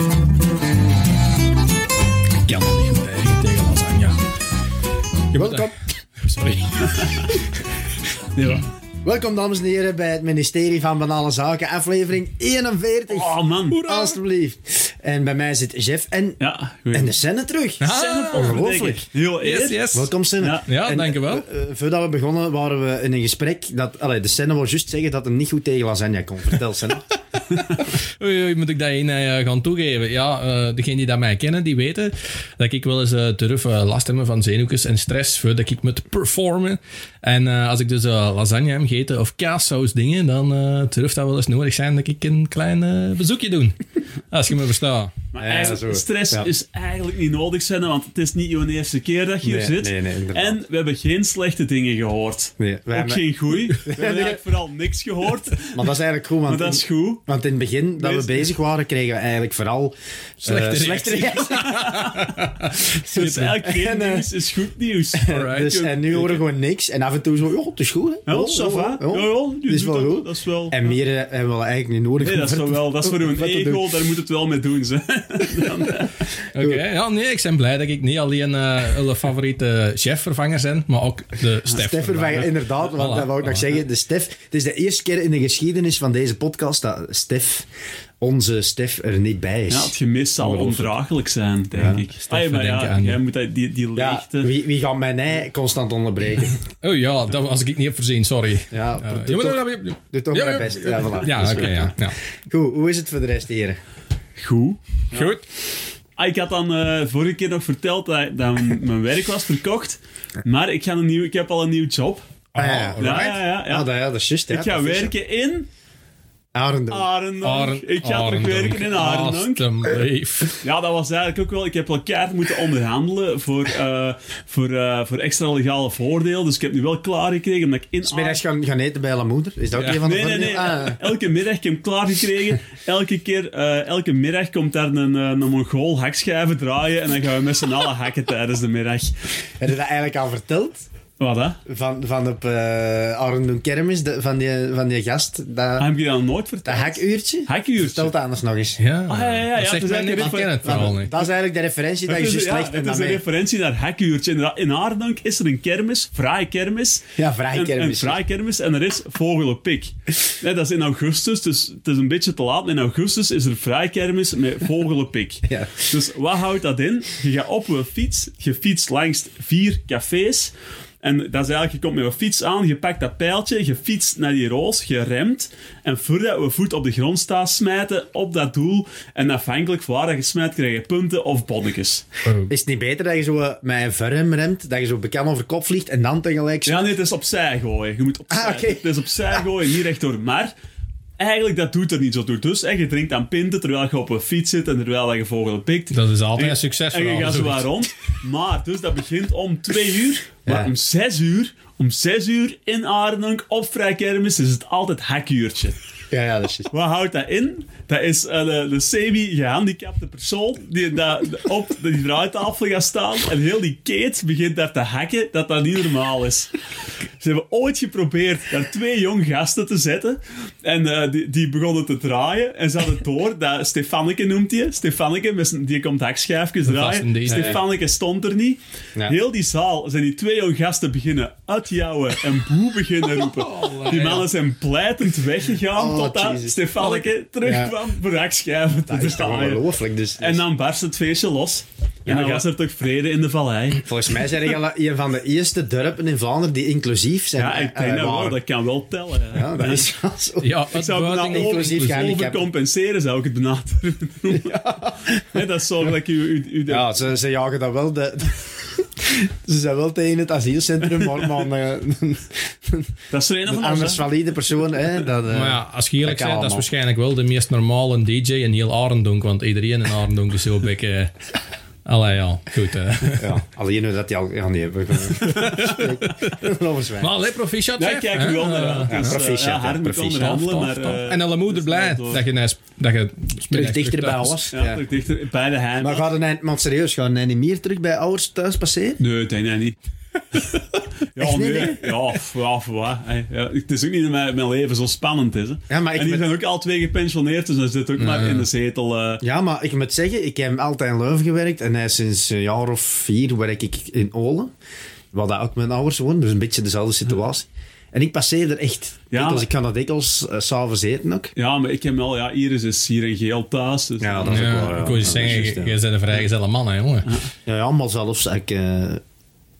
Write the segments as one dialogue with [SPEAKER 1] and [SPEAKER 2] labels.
[SPEAKER 1] Welkom.
[SPEAKER 2] Sorry. ja.
[SPEAKER 1] Welkom, dames en heren, bij het ministerie van Banale Zaken, aflevering 41.
[SPEAKER 2] Oh man.
[SPEAKER 1] Alsjeblieft. En bij mij zit Jeff en,
[SPEAKER 2] Ja,
[SPEAKER 1] en de
[SPEAKER 2] goed.
[SPEAKER 1] scène terug.
[SPEAKER 3] Ah,
[SPEAKER 1] Ongelooflijk.
[SPEAKER 2] Heel
[SPEAKER 3] Yes,
[SPEAKER 2] eerst.
[SPEAKER 3] yes.
[SPEAKER 1] Welkom, Senne.
[SPEAKER 2] Ja,
[SPEAKER 3] ja,
[SPEAKER 1] En,
[SPEAKER 3] dankjewel.
[SPEAKER 1] eh, eh, voordat we begonnen waren we in een gesprek. Dat, allee, de Senne wil juist zeggen dat hem niet goed tegen lasagne kon. Vertel, Senne.
[SPEAKER 3] Oei, oei, moet ik dat in eh, gaan toegeven? Ja, eh degenen die dat mij kennen, die weten dat ik wel eens eh durf eh, last hebben van zenuwjes en stress voordat ik moet performen. En eh, als ik dus eh, lasagne heb gegeten of kaassaus dingen, dan eh durft dat wel eens nodig zijn dat ik een klein eh, bezoekje doe. als je me verstaat.
[SPEAKER 2] Maar
[SPEAKER 1] Ja,
[SPEAKER 2] eigenlijk,
[SPEAKER 1] zo.
[SPEAKER 2] stress
[SPEAKER 1] Ja.
[SPEAKER 2] is eigenlijk niet nodig, zijn, want het is niet jouw eerste keer dat je hier
[SPEAKER 1] Nee,
[SPEAKER 2] zit.
[SPEAKER 1] nee, nee, inderdaad.
[SPEAKER 2] en we hebben geen slechte dingen gehoord.
[SPEAKER 1] Nee, wij
[SPEAKER 2] Ook
[SPEAKER 1] hebben-
[SPEAKER 2] geen goeie. We hebben eigenlijk vooral niks gehoord,
[SPEAKER 1] Maar dat is eigenlijk goed, want,
[SPEAKER 2] maar dat is
[SPEAKER 1] in,
[SPEAKER 2] goed.
[SPEAKER 1] want in het begin dat we
[SPEAKER 2] Meest-
[SPEAKER 1] bezig waren, kregen we eigenlijk vooral eh,
[SPEAKER 3] Slechte
[SPEAKER 1] slechte reacties.
[SPEAKER 2] Dus elk geen
[SPEAKER 1] En, eh,
[SPEAKER 2] nieuws is goed nieuws.
[SPEAKER 3] Alright.
[SPEAKER 1] Dus, en nu horen we gewoon niks. En af en toe zo, joh, het is goed. hè.
[SPEAKER 2] Ja,
[SPEAKER 1] Oh,
[SPEAKER 2] ça va.
[SPEAKER 1] oh, oh.
[SPEAKER 2] Ja, ja, je
[SPEAKER 1] Dit is
[SPEAKER 2] doet
[SPEAKER 1] wel
[SPEAKER 2] dat-
[SPEAKER 1] goed.
[SPEAKER 2] Dat is wel...
[SPEAKER 1] En meer eh, hebben we eigenlijk niet nodig.
[SPEAKER 2] Nee,
[SPEAKER 1] om
[SPEAKER 2] dat is
[SPEAKER 1] ver-
[SPEAKER 2] toch wel, dat is voor
[SPEAKER 1] om
[SPEAKER 2] hun
[SPEAKER 1] ver te doen.
[SPEAKER 2] ego, daar moet het wel mee doen. Ze.
[SPEAKER 3] Oké, ja, nee, ik ben blij dat ik niet alleen eh hun favoriete chefvervanger ben, maar ook de
[SPEAKER 1] Stef
[SPEAKER 3] Stef-vervanger.
[SPEAKER 1] ervan, inderdaad, want
[SPEAKER 3] Voilà,
[SPEAKER 1] dat wou ik nog
[SPEAKER 3] voilà.
[SPEAKER 1] zeggen. De Stef, het is de eerste keer in de geschiedenis van deze podcast dat Stef, onze Stef, er niet bij
[SPEAKER 2] Ja, het
[SPEAKER 1] is.
[SPEAKER 2] gemis zal ondraaglijk zijn, denk ik. Ah, ja, maar
[SPEAKER 3] denken
[SPEAKER 2] ja,
[SPEAKER 3] aan
[SPEAKER 2] jij
[SPEAKER 3] die-
[SPEAKER 2] moet dat- die, die
[SPEAKER 1] Ja,
[SPEAKER 2] leegte...
[SPEAKER 1] wie, wie gaat mij nee constant onderbreken?
[SPEAKER 3] Oh ja, dat was ik niet heb voorzien, sorry.
[SPEAKER 1] Ja,
[SPEAKER 3] Eh,
[SPEAKER 1] doe
[SPEAKER 3] je moet
[SPEAKER 1] toch-
[SPEAKER 3] er-
[SPEAKER 1] Doe toch
[SPEAKER 3] Ja,
[SPEAKER 1] mijn
[SPEAKER 3] ja.
[SPEAKER 1] best. Ja, voilà.
[SPEAKER 3] Ja,
[SPEAKER 1] Dat
[SPEAKER 3] oké,
[SPEAKER 1] is goed.
[SPEAKER 3] ja, Oh, ja.
[SPEAKER 1] Goed, hoe is het voor de rest, heren?
[SPEAKER 2] Goed.
[SPEAKER 3] Goed.
[SPEAKER 2] Ah, ik had dan eh, vorige keer nog verteld dat, dat m- mijn werk was verkocht. Maar ik, ga een nieuw, ik heb al een nieuw job.
[SPEAKER 1] Ah, ja.
[SPEAKER 2] Ja, ja, ja. ja.
[SPEAKER 1] Ah, dat, ja, dat is juist.
[SPEAKER 2] ik ga werken Ah. in
[SPEAKER 1] Arendel.
[SPEAKER 2] Arendonk. Ik ga terug werken in Arendonk.
[SPEAKER 3] Alsjeblieft.
[SPEAKER 2] Ja, dat was eigenlijk ook wel... Ik heb wel keihard moeten onderhandelen voor, eh, voor, eh, voor extra legale voordeel. Dus ik heb nu wel klaargekregen omdat ik in
[SPEAKER 1] Smiddags gaan, gaan eten bij La Moeder. Is dat ook
[SPEAKER 3] Ja.
[SPEAKER 1] een van de
[SPEAKER 2] Nee, nee, nee.
[SPEAKER 1] voordelen? Ah,
[SPEAKER 2] Elke middag heb ik hem klaargekregen. Elke keer, eh, elke middag komt daar een, eh, een Mongool hakschijven draaien. En dan gaan we met z'n allen hakken tijdens de middag.
[SPEAKER 1] Heb je dat eigenlijk al verteld?
[SPEAKER 2] Wat hè?
[SPEAKER 1] Van, van op eh Arendel Kermis, de- van, die, van die gast, dat,
[SPEAKER 2] Ah, Heb je dat nog nooit
[SPEAKER 1] dat
[SPEAKER 2] verteld?
[SPEAKER 1] hakuurtje?
[SPEAKER 2] Hakuurtje.
[SPEAKER 1] Vertel dat anders nog eens.
[SPEAKER 3] Ja,
[SPEAKER 2] Ah, ja, ja, ja,
[SPEAKER 3] dat
[SPEAKER 2] het
[SPEAKER 3] zegt
[SPEAKER 2] is
[SPEAKER 3] mij
[SPEAKER 2] eigenlijk
[SPEAKER 3] niks, ik
[SPEAKER 2] een-
[SPEAKER 3] ken het
[SPEAKER 1] Want
[SPEAKER 3] vooral niet.
[SPEAKER 1] Dat is eigenlijk de referentie dat je
[SPEAKER 2] Het is,
[SPEAKER 1] juist
[SPEAKER 2] ja,
[SPEAKER 1] legt
[SPEAKER 2] het
[SPEAKER 1] en
[SPEAKER 2] is
[SPEAKER 1] dan
[SPEAKER 2] een
[SPEAKER 1] mee.
[SPEAKER 2] referentie naar hakuurtje. Inderdaad, In Aardonk is er een kermis, fraaie kermis.
[SPEAKER 1] Ja, fraaie
[SPEAKER 2] Een-
[SPEAKER 1] kermis.
[SPEAKER 2] Een fraaie kermis en er is Vogelenpik. Nee, dat is in augustus, dus het is een beetje te laat. maar In augustus is er fraaie kermis met Vogelenpik.
[SPEAKER 1] Ja.
[SPEAKER 2] Dus wat houdt dat in? Je gaat op een fiets, je fietst langs vier cafés. En dat is eigenlijk, je komt met een fiets aan, je pakt dat pijltje, je fietst naar die roos, je remt. En voordat we voet op de grond staan, smijten op dat doel. En afhankelijk van waar dat je smijt, krijg je punten of bonnetjes.
[SPEAKER 3] Oh,
[SPEAKER 1] Is het niet beter dat je zo eh, met een verrem remt, dat je zo bekend over kop vliegt en dan tegelijk zo...
[SPEAKER 2] Ja, nee, het is opzij gooien. Je moet opzij.
[SPEAKER 1] Ah, oké.
[SPEAKER 2] Het is opzij gooien, niet rechtdoor. Maar eigenlijk, dat doet er niet zo toe. Dus en je drinkt aan pinten terwijl je op een fiets zit en terwijl je vogelen pikt.
[SPEAKER 3] Dat is altijd
[SPEAKER 2] En-
[SPEAKER 3] een succes
[SPEAKER 2] En je
[SPEAKER 3] vooral,
[SPEAKER 2] gaat zo
[SPEAKER 3] zoiets.
[SPEAKER 2] waar rond. Maar, dus dat begint om twee uur. Maar
[SPEAKER 1] Ja.
[SPEAKER 2] om zes uur, om zes uur in Arnhem op Vrijkermis is het altijd hakuurtje.
[SPEAKER 1] Ja, ja, dat is juist.
[SPEAKER 2] Wat houdt dat in? Dat is eh, de, de semi-gehandicapte persoon die daar op die draaitafel gaat staan en heel die keet begint daar te hakken dat dat niet normaal is. Ze hebben ooit geprobeerd daar twee jong gasten te zetten en eh, die, die begonnen te draaien en ze hadden door dat Stefanneke noemt hij. Stefanneke, met zijn- die komt hakschijfjes
[SPEAKER 3] vaste
[SPEAKER 2] draaien.
[SPEAKER 3] deze.
[SPEAKER 2] Stefanneke stond er niet.
[SPEAKER 1] Ja.
[SPEAKER 2] Heel die zaal zijn die twee jong gasten beginnen uitjouwen en boe beginnen roepen. Die mannen zijn pleitend weggegaan
[SPEAKER 1] Oh,
[SPEAKER 2] totdat
[SPEAKER 1] Jesus.
[SPEAKER 2] Stefanneke terugkwam voor hakschijven te
[SPEAKER 1] Dat is toch
[SPEAKER 2] draaien.
[SPEAKER 1] ongelooflijk. Dus, dus-
[SPEAKER 2] En dan barst het feestje los. En dan
[SPEAKER 1] ja.
[SPEAKER 2] was er toch vrede in de vallei.
[SPEAKER 1] dus Volgens mij zijn je al een van de eerste dorpen in Vlaanderen die inclusief zijn.
[SPEAKER 2] Ja, ik
[SPEAKER 1] eh,
[SPEAKER 2] denk dat wel,
[SPEAKER 1] waren.
[SPEAKER 2] dat kan wel tellen. hè.
[SPEAKER 1] Ja, dat is wel zo.
[SPEAKER 3] Ja,
[SPEAKER 2] Ik zou het
[SPEAKER 3] uitbuiting
[SPEAKER 2] nou over-
[SPEAKER 1] inclusief gehandicapt.
[SPEAKER 2] overcompenseren, zou ik het benaderen. Hè, dat is zo dat je... u- u- u-
[SPEAKER 1] Ja, ze, ze jagen dat wel. De, ze zijn wel tegen het asielcentrum, maar, maar een, eh,
[SPEAKER 2] Dat is er een
[SPEAKER 1] een
[SPEAKER 2] van ons, hè.
[SPEAKER 1] anders valide persoon. Hè, dat, eh,
[SPEAKER 3] Maar ja, als je eerlijk
[SPEAKER 1] Dat
[SPEAKER 3] bent, dat is
[SPEAKER 1] kan allemaal.
[SPEAKER 3] waarschijnlijk wel de meest normale DJ in heel Arendonk, want iedereen in Arendonk is zo bekken. Allee, ja, goed. eh.
[SPEAKER 1] ja, alleen hoe dat die al. Ja, nee, we gaan. Over zwijgen.
[SPEAKER 3] Maar allee, proficiat,
[SPEAKER 2] Ja,
[SPEAKER 3] chef,
[SPEAKER 2] ik kijk
[SPEAKER 3] hè.
[SPEAKER 2] u wel
[SPEAKER 3] Eh,
[SPEAKER 2] naar dus,
[SPEAKER 1] ja, proficiat,
[SPEAKER 2] Ja, hard
[SPEAKER 1] ja,
[SPEAKER 2] moet
[SPEAKER 1] proficiat.
[SPEAKER 2] onderhandelen,
[SPEAKER 3] tof,
[SPEAKER 2] maar...
[SPEAKER 3] tof, tof.
[SPEAKER 2] eh,
[SPEAKER 3] En alle moeder
[SPEAKER 2] dus
[SPEAKER 3] blij
[SPEAKER 2] dat door.
[SPEAKER 3] dat je... naar- Dat je
[SPEAKER 1] Terug dichter bij
[SPEAKER 3] thuis-
[SPEAKER 1] alles.
[SPEAKER 2] Ja,
[SPEAKER 1] Ja.
[SPEAKER 2] terug dichter bij de heim.
[SPEAKER 1] Maar gaat een eind, maar serieus, gaan een meer terug bij ouders thuis passeren?
[SPEAKER 2] Nee, dat denk ik niet. ja,
[SPEAKER 1] Echt niet,
[SPEAKER 2] nee. Ja, f- ja, voor wat, hè. Ja, het is ook niet dat mijn, mijn leven zo spannend is. Hè.
[SPEAKER 1] Ja, maar ik
[SPEAKER 2] en die
[SPEAKER 1] ben-
[SPEAKER 2] zijn ook al twee gepensioneerd, dus hij zit ook maar in de zetel. eh.
[SPEAKER 1] Ja, maar ik moet zeggen, ik heb altijd in Leuven gewerkt en hij is sinds een jaar of vier werk ik in Olen. Wat dat ook mijn ouders wonen, dus een beetje dezelfde situatie. En ik passeer er echt.
[SPEAKER 2] Ja,
[SPEAKER 1] dikwijls.
[SPEAKER 2] maar-
[SPEAKER 1] ik kan dat dikwijls eh, s s'avonds eten ook.
[SPEAKER 2] Ja, maar ik heb wel, ja, Iris is hier en geel thuis. Dus
[SPEAKER 1] Ja, dat is ook wel.
[SPEAKER 3] ik kon je zeggen,
[SPEAKER 1] juist,
[SPEAKER 3] jij
[SPEAKER 1] ja.
[SPEAKER 3] bent een vrijgezelle man, hè, jongen.
[SPEAKER 1] Ja, ja, maar zelfs ik... eh,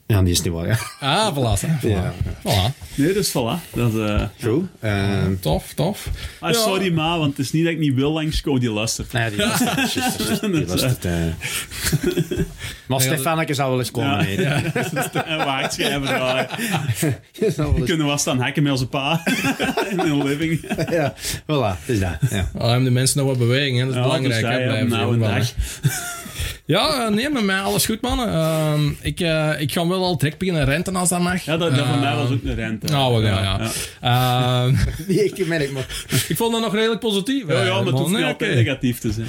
[SPEAKER 1] ja, die is niet waar, ja.
[SPEAKER 3] Ah, voilà. hè, voilà.
[SPEAKER 1] Ja.
[SPEAKER 3] Voilà.
[SPEAKER 2] Nee, dus voilà. Dat, eh,
[SPEAKER 1] Goed. Eh,
[SPEAKER 3] Tof, tof.
[SPEAKER 2] ah, sorry, ma, want het is niet dat ik niet wil langskomen, die luistert.
[SPEAKER 1] nee, die was het. juist, juist, Die was het. eh. Maar Stefaneke zou wel eens komen
[SPEAKER 2] Ja.
[SPEAKER 1] eten.
[SPEAKER 2] en eh, wacht, je even daar.
[SPEAKER 3] Dus-
[SPEAKER 1] Die zou wel eens-
[SPEAKER 2] Kunnen we staan hacken met onze pa in een living.
[SPEAKER 1] Ja, voilà, het is dat. Ja.
[SPEAKER 3] Ah, hebben de mensen nog wat beweging, hè? dat is
[SPEAKER 2] Ja,
[SPEAKER 3] belangrijk.
[SPEAKER 2] dus
[SPEAKER 3] hè,
[SPEAKER 2] hij op
[SPEAKER 3] blijven ze
[SPEAKER 2] nou een
[SPEAKER 3] voetballen.
[SPEAKER 2] dag.
[SPEAKER 3] Ja, eh, nee, met mij alles goed, mannen. Ehm, ik, eh, ik ga wel al direct beginnen renten als dat mag.
[SPEAKER 2] Ja, dat, dat van mij was
[SPEAKER 3] Ehm,
[SPEAKER 2] ook een rente.
[SPEAKER 3] Nou, wel, ja, ja. Ehm,
[SPEAKER 1] Die ik merk, maar...
[SPEAKER 3] ik vond dat nog redelijk positief.
[SPEAKER 2] Ja, ja,
[SPEAKER 3] eigenlijk,
[SPEAKER 2] maar het
[SPEAKER 3] man.
[SPEAKER 2] hoeft niet
[SPEAKER 3] Nee,
[SPEAKER 2] altijd
[SPEAKER 3] oké.
[SPEAKER 2] negatief te zijn.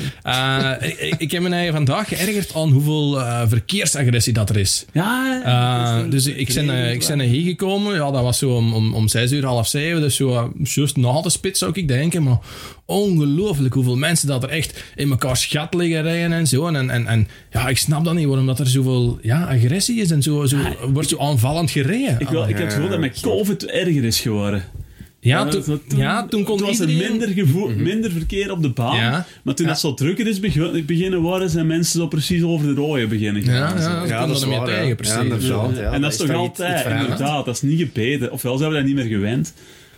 [SPEAKER 3] Eh, ik- ik, ik heb me eigenlijk vandaag geërgerd aan hoeveel eh, verkeersagressie dat er is.
[SPEAKER 2] Ja,
[SPEAKER 3] Eh, dus ik ben, eh, ik ben er hier gekomen. Ja, dat was zo om, om, om 6 uur, half 7. Dus zo, eh, juist na de spits zou ik denken. Maar ongelooflijk hoeveel mensen dat er echt in elkaar schat liggen rijden en zo. En, en, en ja, ik snap dat niet waarom dat er zoveel ja, agressie is en zo, zo wordt zo aanvallend gereden.
[SPEAKER 2] Ah, Ik, wil, ik heb het gevoel dat mijn COVID erger is geworden.
[SPEAKER 3] ja,
[SPEAKER 2] dat-
[SPEAKER 3] toen,
[SPEAKER 2] dat-
[SPEAKER 3] ja, toen kon
[SPEAKER 2] toen was
[SPEAKER 3] iedereen... Mhm.
[SPEAKER 2] er minder, gevoel, minder verkeer op de baan.
[SPEAKER 3] Ja.
[SPEAKER 2] Maar toen dat zo drukker is beg- beginnen worden, zijn mensen zo precies over de rode beginnen
[SPEAKER 3] Ja,
[SPEAKER 2] gaan.
[SPEAKER 3] ja,
[SPEAKER 2] Zo.
[SPEAKER 3] dat kon er meer tegen, precies.
[SPEAKER 1] Ja, inderdaad, ja,
[SPEAKER 2] en dat is toch
[SPEAKER 1] iets- iets
[SPEAKER 2] altijd,
[SPEAKER 1] veranderd.
[SPEAKER 2] inderdaad, dat is niet gebeden. Ofwel zijn we dat niet meer gewend,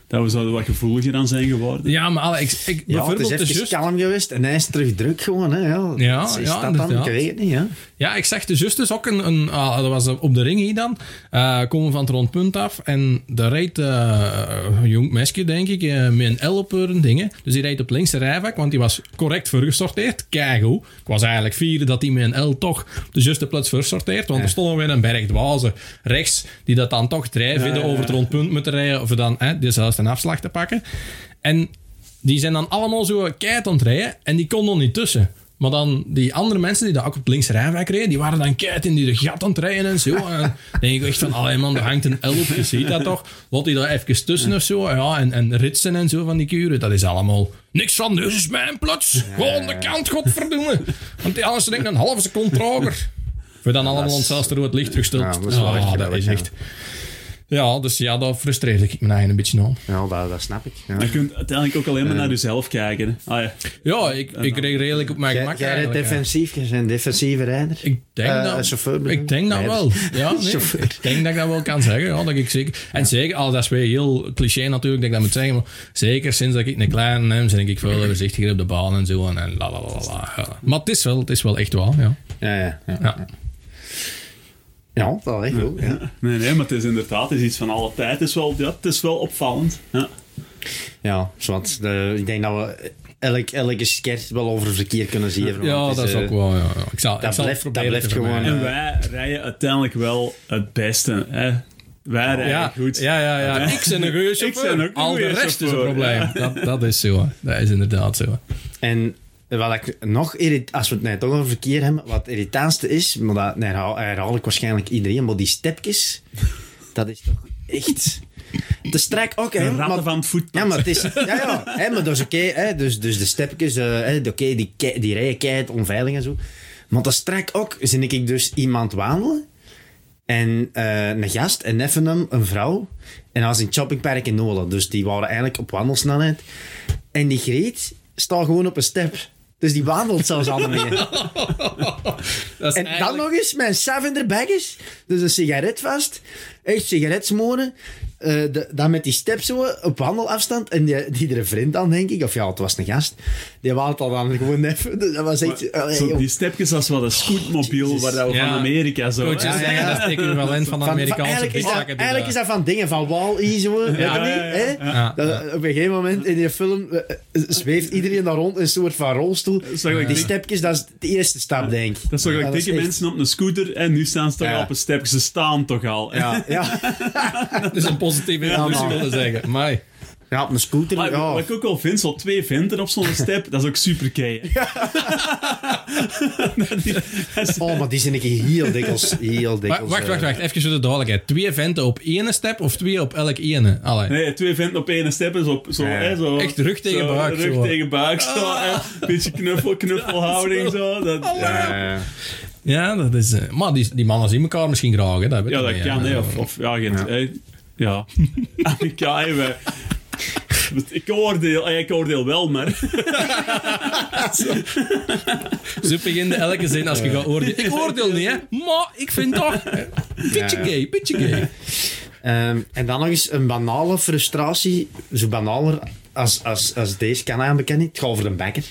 [SPEAKER 2] dat we zouden wat gevoeliger aan zijn geworden.
[SPEAKER 3] Ja, maar Alex, ik,
[SPEAKER 1] Ja, het is
[SPEAKER 3] bijvoorbeeld...
[SPEAKER 1] even
[SPEAKER 3] dus juist-
[SPEAKER 1] kalm geweest en hij is terug druk gewoon. Hè, ja,
[SPEAKER 3] Ja,
[SPEAKER 1] Is- is
[SPEAKER 3] ja,
[SPEAKER 1] dat dan? Ik
[SPEAKER 3] inderdaad.
[SPEAKER 1] weet het niet. Hè.
[SPEAKER 3] Ja, ik zag de zus dus ook een... een ah, dat was op de ring hier dan. eh, komen van het rondpunt af. En daar rijdt eh, een jong meisje, denk ik, eh, met een L op haar dingen. Dus die rijdt op het linkse rijvak, want die was correct voorgesorteerd. Keigoed. Ik was eigenlijk fier dat die met een L toch op de juiste plaats voorsorteert. Want er stond weer een berg dwazen rechts, die dat dan toch drijven vinden over het rondpunt moeten rijden. Of dan hè, dezelfde een afslag te pakken. En die zijn dan allemaal zo keihard aan het rijden en die konden er niet tussen. Maar dan die andere mensen die daar ook op links rijwijk reden, die waren dan keihard in die gat aan het rijden en zo. En dan denk ik echt van, allee man, er hangt een L op, je ziet dat toch? Laat die daar even tussen of zo, ja, en, en ritsen en zo van die kuren, dat is allemaal niks van, dus is mijn plots, gewoon de kant, godverdomme. Want die anders denkt een halve seconde trager. We dan allemaal
[SPEAKER 1] is-
[SPEAKER 3] onszelf door het licht terugstelt.
[SPEAKER 1] Ja, dat is wel echt
[SPEAKER 3] Ah, dat
[SPEAKER 1] geweldig,
[SPEAKER 3] is
[SPEAKER 1] ja.
[SPEAKER 3] echt... Ja, dus ja, dat frustreerde ik me eigen een beetje aan.
[SPEAKER 1] Ja, dat, dat snap ik. Ja.
[SPEAKER 2] Dan kun je uiteindelijk ook alleen maar naar jezelf kijken. hè. Ah, ja.
[SPEAKER 3] Ja, ik, ik reed redelijk op mijn
[SPEAKER 1] Jij,
[SPEAKER 3] gemak
[SPEAKER 1] jij rijdt
[SPEAKER 3] eigenlijk, ja.
[SPEAKER 1] defensief, jij bent een defensieve rijder.
[SPEAKER 3] Ik denk
[SPEAKER 1] Eh,
[SPEAKER 3] dat,
[SPEAKER 1] chauffeur bedoel
[SPEAKER 3] ik denk dat
[SPEAKER 1] Nee,
[SPEAKER 3] wel. Ja, nee,
[SPEAKER 1] Chauffeur.
[SPEAKER 3] Ik denk dat ik dat wel kan zeggen. Ja, dat ik zeker, en zeker, al dat is weer heel cliché natuurlijk dat ik dat moet zeggen, maar zeker sinds dat ik een kleine heb, ben ik veel voorzichtiger op de baan en zo. En, en la, la, la, la, ja. Maar het is wel, het is wel echt waar. Ja.
[SPEAKER 1] Ja, ja, ja.
[SPEAKER 3] Ja.
[SPEAKER 1] ja dat wel echt goed. Ja.
[SPEAKER 2] Nee, nee, maar het is inderdaad het is iets van alle tijd. Het is wel, ja, het is wel opvallend. Ja.
[SPEAKER 1] Ja, zwart. De- ik denk dat we elk, elke skert wel over verkeer kunnen zien. want
[SPEAKER 3] ja,
[SPEAKER 1] het
[SPEAKER 3] dat is
[SPEAKER 1] eh,
[SPEAKER 3] ook wel. Ja. Ik zal,
[SPEAKER 1] dat
[SPEAKER 3] ik zal het
[SPEAKER 1] blijft- dat
[SPEAKER 3] proberen
[SPEAKER 1] blijft
[SPEAKER 3] te
[SPEAKER 1] gewoon,
[SPEAKER 3] vermijden.
[SPEAKER 2] En wij rijden uiteindelijk wel het beste. Hè? Wij rijden
[SPEAKER 3] Ja,
[SPEAKER 2] goed.
[SPEAKER 3] ja, ja, ja. Ik ben een goeie
[SPEAKER 2] ben
[SPEAKER 3] chauffeur.
[SPEAKER 2] ook een
[SPEAKER 3] Al de
[SPEAKER 2] goeie
[SPEAKER 3] rest is een
[SPEAKER 2] chauffeur,
[SPEAKER 3] probleem. Dat, dat is zo. hè. Dat is inderdaad zo.
[SPEAKER 1] En wat ik nog, irrit- als we het net over verkeer hebben, wat het irritantste is, maar dat herhaal, herhaal ik waarschijnlijk iedereen, maar die stepjes, dat is toch echt te strak ook, hè?
[SPEAKER 2] De ratten
[SPEAKER 1] Maar-
[SPEAKER 2] van het voetpad.
[SPEAKER 1] ja, maar het is... Ja, ja. Hè, maar dat is oké. hè. dus, dus de stepjes, eh, hè, oké, die, kei- die rijden keihard, onveilig en zo. Maar dat is strak ook. Zie ik dus iemand wandelen. En eh, een gast, een neffen hem, een vrouw. En dat was in het shoppingpark in Nolen. Dus die waren eigenlijk op wandelsnelheid. En die Greet staat gewoon op een step. Dus die wandelt zelfs al mee.
[SPEAKER 3] Dat is
[SPEAKER 1] En dan nog eens, mijn saf in de baggies. Dus een sigaret vast. Echt sigaret smoren. Eh, de- dan met die steps zo op wandelafstand. En die, die er vriend aan, denk ik. Of ja, het was een gast. Die waalt al dan gewoon even. Dus dat was echt... allee,
[SPEAKER 2] Zo,
[SPEAKER 1] joh.
[SPEAKER 2] die stepjes, dat is wel een scootmobiel
[SPEAKER 1] Jezus.
[SPEAKER 2] waar dat we
[SPEAKER 3] Ja.
[SPEAKER 2] van Amerika zo...
[SPEAKER 3] Coaches
[SPEAKER 2] Ja,
[SPEAKER 3] zeggen dat is het equivalent van de
[SPEAKER 1] Van- van-
[SPEAKER 3] Amerikaanse
[SPEAKER 1] eigenlijk, is dat,
[SPEAKER 3] blikzakken. die
[SPEAKER 1] eigenlijk is
[SPEAKER 3] daar-
[SPEAKER 1] dat van dingen, van Wall-E zo. weet je
[SPEAKER 2] ja,
[SPEAKER 1] niet,
[SPEAKER 2] ja,
[SPEAKER 1] hè?
[SPEAKER 3] Ja,
[SPEAKER 1] Dat- eh, Op een gegeven moment in die film eh, eh, zweeft iedereen daar rond in een soort van rolstoel.
[SPEAKER 2] is wel gelijk
[SPEAKER 1] Die
[SPEAKER 2] dik-
[SPEAKER 1] stepjes, dat is de eerste stap, denk ik.
[SPEAKER 2] Dat is toch
[SPEAKER 1] Ja,
[SPEAKER 2] gelijk dikke
[SPEAKER 1] echt-
[SPEAKER 2] mensen op een scooter en nu staan ze toch
[SPEAKER 1] Ja.
[SPEAKER 2] al op een step. Ze staan toch al.
[SPEAKER 1] Ja, ja.
[SPEAKER 3] Dat is een positieve impuls,
[SPEAKER 1] man.
[SPEAKER 3] willen zeggen. Maar
[SPEAKER 1] ja, op een scooter.
[SPEAKER 2] Maar
[SPEAKER 1] ja.
[SPEAKER 2] Wat ik ook wel vind, zo twee venten op zo'n step, dat is ook super kei. hè. Dat die- dat is-
[SPEAKER 1] Oh, maar die zijn ik heel dikwijls. Heel dikwijls
[SPEAKER 3] wacht,
[SPEAKER 1] eh,
[SPEAKER 3] wacht, wacht. Even voor de duidelijkheid. Twee venten op ene step of twee op elk ene? Allee.
[SPEAKER 2] Nee, twee venten op één step is op zo,
[SPEAKER 1] Ja.
[SPEAKER 2] hè, zo.
[SPEAKER 3] Echt rug tegen
[SPEAKER 2] zo,
[SPEAKER 3] buik,
[SPEAKER 2] Rug
[SPEAKER 3] zo.
[SPEAKER 2] tegen buik, zo. hè. Beetje knuffel, knuffelhouding, zo. Dat,
[SPEAKER 1] eh,
[SPEAKER 3] Ja, dat is... eh, maar die, die mannen zien elkaar misschien graag, hè. Dat weet
[SPEAKER 2] Ja,
[SPEAKER 3] ik
[SPEAKER 2] dat
[SPEAKER 3] niet,
[SPEAKER 2] kan,
[SPEAKER 3] hè.
[SPEAKER 2] hè. Of, of ja, geen...
[SPEAKER 1] Ja.
[SPEAKER 2] hè. Ja. Amerika, hè, wij- Ik oordeel, eh, ik oordeel wel, maar...
[SPEAKER 3] Zo begint elke zin als je gaat oordelen. Ik oordeel niet, hè. Maar ik vind toch... eh, Beetje
[SPEAKER 1] Ja, ja.
[SPEAKER 3] gay, beetje gay.
[SPEAKER 1] Ehm, en dan nog eens een banale frustratie. Zo banaler als, als, als deze kan aanbekennen. Het gaat over de bekker.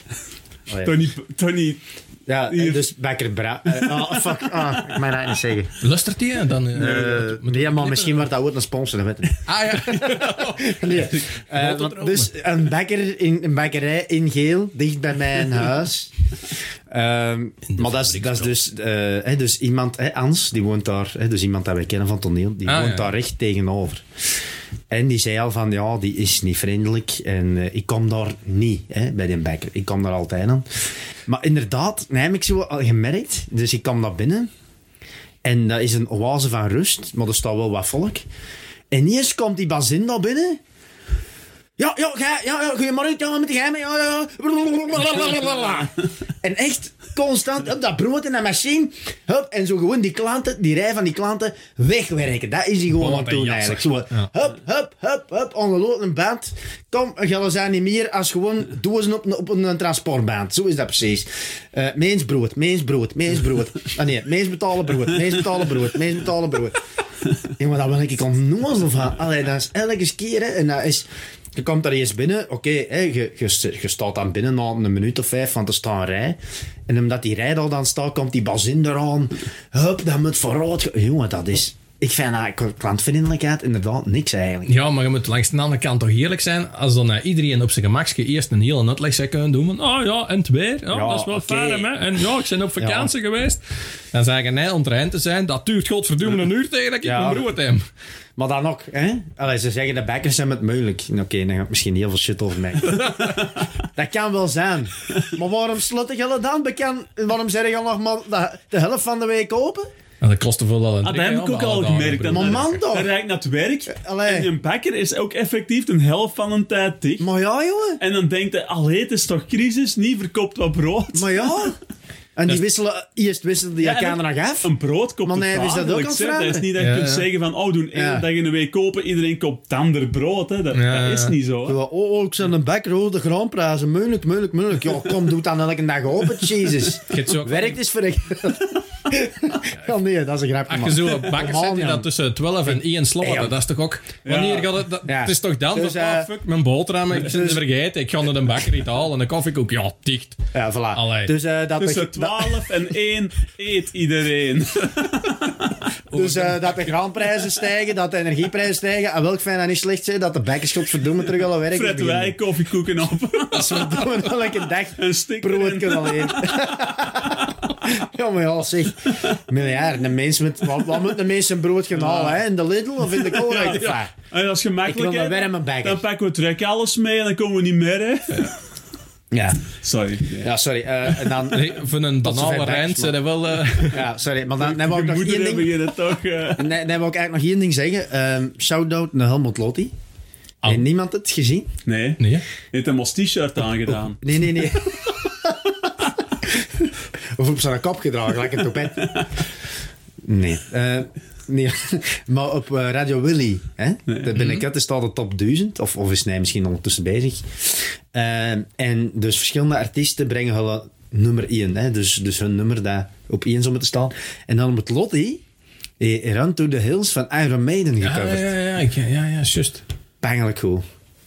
[SPEAKER 1] Allee.
[SPEAKER 2] Tony... Tony...
[SPEAKER 1] Ja, en
[SPEAKER 2] Hier.
[SPEAKER 1] dus Bekker Bra. eh, oh, fuck. Ah, ik mag dat niet zeggen.
[SPEAKER 3] Lustert die, hè, dan... eh,
[SPEAKER 1] Eh, nee, maar misschien wordt dat ooit een sponsor, dat weet ik niet.
[SPEAKER 3] Ah, ja.
[SPEAKER 1] Nee. Eh,
[SPEAKER 3] Grote
[SPEAKER 1] want
[SPEAKER 3] dromen.
[SPEAKER 1] dus een, bakker in, een bakkerij in Geel, dicht bij mijn huis. Ehm, maar dat is, dat is dus, eh, hè, dus iemand, hè, Ans, die woont daar, hè, dus iemand dat wij kennen van toneel, die
[SPEAKER 3] Ah,
[SPEAKER 1] woont
[SPEAKER 3] ja.
[SPEAKER 1] daar recht tegenover. En die zei al van, ja, die is niet vriendelijk en eh, ik kom daar niet hè, bij die bakker. Ik kom daar altijd aan. Maar inderdaad, nee, heb ik zo al gemerkt. Dus ik kwam daar binnen en dat is een oase van rust, maar er staat wel wat volk. En eerst komt die bazin daar binnen. Ja, ja, ga, ja, ja goeiemorgen, ja, met die geheimen, ja, ja, ja. En echt constant op dat brood en dat machine, hup, en zo gewoon die klanten, die rij van die klanten, wegwerken. Dat is hij gewoon
[SPEAKER 3] Wat
[SPEAKER 1] aan het
[SPEAKER 3] een
[SPEAKER 1] doen
[SPEAKER 3] jasser.
[SPEAKER 1] eigenlijk. Zo,
[SPEAKER 3] Ja.
[SPEAKER 1] hup, hup, hup, hup, ongelopen band. Kom, jullie zijn niet meer als gewoon dozen op, een- op een transportband. Zo is dat precies. Eh meens brood, meens brood, meens brood. Ah nee, meens betalen brood, meens betalen brood, meens betalen brood. Jongen, dat ben ik onnozel van. Allee, dat is elke keer, hè, en dat is... Je komt daar eerst binnen, oké, hè, je, je, je staat dan binnen na een minuut of vijf, want er staat een rij. En omdat die rij al dan staat, komt die bazin eraan. Hup, dan moet vooruit. ge- Jongen, dat is... Ik vind dat klantvriendelijkheid inderdaad niks eigenlijk.
[SPEAKER 3] Ja, maar je moet langs de andere kant toch eerlijk zijn. Als dan eh, iedereen op zijn gemakje eerst een hele uitleg zou kunnen doen. Van, oh ja, en het weer. Ja,
[SPEAKER 1] Ja,
[SPEAKER 3] dat is wel
[SPEAKER 1] oké.
[SPEAKER 3] fijn, hè. En ja, ik ben op vakantie geweest. Dan zeg je, nee, om trein te zijn, dat duurt godverdomme een uur tegen dat ik
[SPEAKER 1] Ja.
[SPEAKER 3] mijn broer heb.
[SPEAKER 1] Maar dan ook, hè? Allee, ze zeggen de bakkers zijn het moeilijk. Oké, dan gaat misschien heel veel shit over mij. dat kan wel zijn. Maar waarom sluiten jullie dan bekend? Waarom zeggen jullie nog maar de, de helft van de week open?
[SPEAKER 3] En dat kost te veel al een
[SPEAKER 2] Ah, dat
[SPEAKER 3] trek,
[SPEAKER 2] heb
[SPEAKER 3] hè,
[SPEAKER 2] ik ook
[SPEAKER 3] allemaal
[SPEAKER 2] al
[SPEAKER 3] dagen,
[SPEAKER 2] gemerkt.
[SPEAKER 3] broer.
[SPEAKER 1] Maar
[SPEAKER 2] Dan-
[SPEAKER 1] man toch?
[SPEAKER 2] Dan rijd ik naar het werk.
[SPEAKER 1] Allee.
[SPEAKER 2] En een bakker is ook effectief een helft van een tijd dicht.
[SPEAKER 1] Maar ja, jongen.
[SPEAKER 2] En dan denkt hij, allee, het is toch crisis? Niet verkoopt wat brood.
[SPEAKER 1] Maar ja. En die wisselen, eerst wisselen die
[SPEAKER 2] Dus- Ja,
[SPEAKER 1] elkaar
[SPEAKER 2] en
[SPEAKER 1] er nog af.
[SPEAKER 2] Een brood koopt
[SPEAKER 1] Maar nee,
[SPEAKER 2] het
[SPEAKER 1] is dat ook
[SPEAKER 2] dagelijks,
[SPEAKER 1] aan het
[SPEAKER 2] hè. Dat is
[SPEAKER 1] veranderen?
[SPEAKER 2] niet dat je
[SPEAKER 3] Ja,
[SPEAKER 2] kunt
[SPEAKER 3] ja.
[SPEAKER 2] zeggen van, oh, we doen één
[SPEAKER 1] Ja.
[SPEAKER 2] dag in de week kopen, iedereen koopt ander brood. Hè. Dat,
[SPEAKER 3] Ja,
[SPEAKER 2] dat is
[SPEAKER 3] ja.
[SPEAKER 2] niet zo. hè.
[SPEAKER 1] Zo, Oh, oh, ik ben een bakker, oh, de graanprijzen, moeilijk, moeilijk, moeilijk. Ja, kom, doe het dan elke dag open, jezus.
[SPEAKER 3] Je hebt zo ook-
[SPEAKER 1] Werkt is verrekt. Ja, nee, dat is een grapje,
[SPEAKER 3] Als je
[SPEAKER 1] man.
[SPEAKER 3] zo een bakker zet die
[SPEAKER 1] man.
[SPEAKER 3] dat tussen 12 en 1
[SPEAKER 1] Hey,
[SPEAKER 3] slaat,
[SPEAKER 1] joh.
[SPEAKER 3] dat is toch ook... Wanneer gaat het... dat-
[SPEAKER 1] Ja.
[SPEAKER 3] Het is toch dan
[SPEAKER 1] Dus,
[SPEAKER 3] van,
[SPEAKER 1] eh,
[SPEAKER 3] ah, fuck, mijn boterham, ik ben
[SPEAKER 1] dus-
[SPEAKER 3] ze vergeten. Ik ga naar de bakker iets halen en dan koffie ook. Ja, dicht.
[SPEAKER 1] Ja, voilà.
[SPEAKER 3] Allee.
[SPEAKER 1] Dus eh, dat
[SPEAKER 2] Tussen
[SPEAKER 1] dat-
[SPEAKER 2] 12 en 1 eet iedereen.
[SPEAKER 1] Dus eh, dat de graanprijzen stijgen, dat de energieprijzen stijgen. En welk fijn dat niet slecht zijn, dat de bekkenschop verdoemen terug alle werk.
[SPEAKER 2] Fred wij koffiekoeken op.
[SPEAKER 1] Dat is verdoemen elke dag.
[SPEAKER 2] Een stik
[SPEAKER 1] Brood
[SPEAKER 2] erin.
[SPEAKER 1] kan alleen. ja, maar ja, zeg. Miljarden een mens met... Wat, wat moet een mens een brood gaan halen, hè? In de Lidl of in de Colruyt?
[SPEAKER 2] Ja.
[SPEAKER 1] Ja.
[SPEAKER 2] En dat is gemakkelijk.
[SPEAKER 1] Ik wil een
[SPEAKER 2] hè.
[SPEAKER 1] warme bagger.
[SPEAKER 2] Dan pakken we trek alles mee en dan komen we niet meer. Hè.
[SPEAKER 1] ja.
[SPEAKER 2] Sorry.
[SPEAKER 1] Ja, sorry. eh, en dan...
[SPEAKER 3] Nee, Voor een
[SPEAKER 1] Tot zover
[SPEAKER 3] banale
[SPEAKER 1] bakkers,
[SPEAKER 3] rent zijn dat wel... eh,
[SPEAKER 1] Ja, sorry. Maar dan, dan wou ik
[SPEAKER 2] Je
[SPEAKER 1] nog
[SPEAKER 2] moeder
[SPEAKER 1] één
[SPEAKER 2] hebben
[SPEAKER 1] ding...
[SPEAKER 2] je toch... eh,
[SPEAKER 1] Nee, dan wou ik eigenlijk nog één ding zeggen. Ehm Shout-out naar Helmut Lotti.
[SPEAKER 3] Ah.
[SPEAKER 1] Heeft niemand het gezien?
[SPEAKER 2] Nee.
[SPEAKER 3] Nee, hè?
[SPEAKER 2] Je hebt hem als t-shirt aangedaan.
[SPEAKER 1] Nee, nee, nee. of op zijn kop gedragen, lekker het op bed. Nee. eh, nee. maar op eh, Radio Willy, hè, daar binnenkort is het al de top 1000, of, of is hij misschien ondertussen bezig. Eh, en dus verschillende artiesten brengen hun eh, nummer 1, hè, dus, dus hun nummer daar op 1 zou moeten staan. En dan op het Lottie, eh, Run to the Hills van Iron Maiden
[SPEAKER 3] Ja, ja,
[SPEAKER 1] gecoverd.
[SPEAKER 3] ja, ja, ik- ja, ja, ja, juist.
[SPEAKER 1] Bangelijk goed.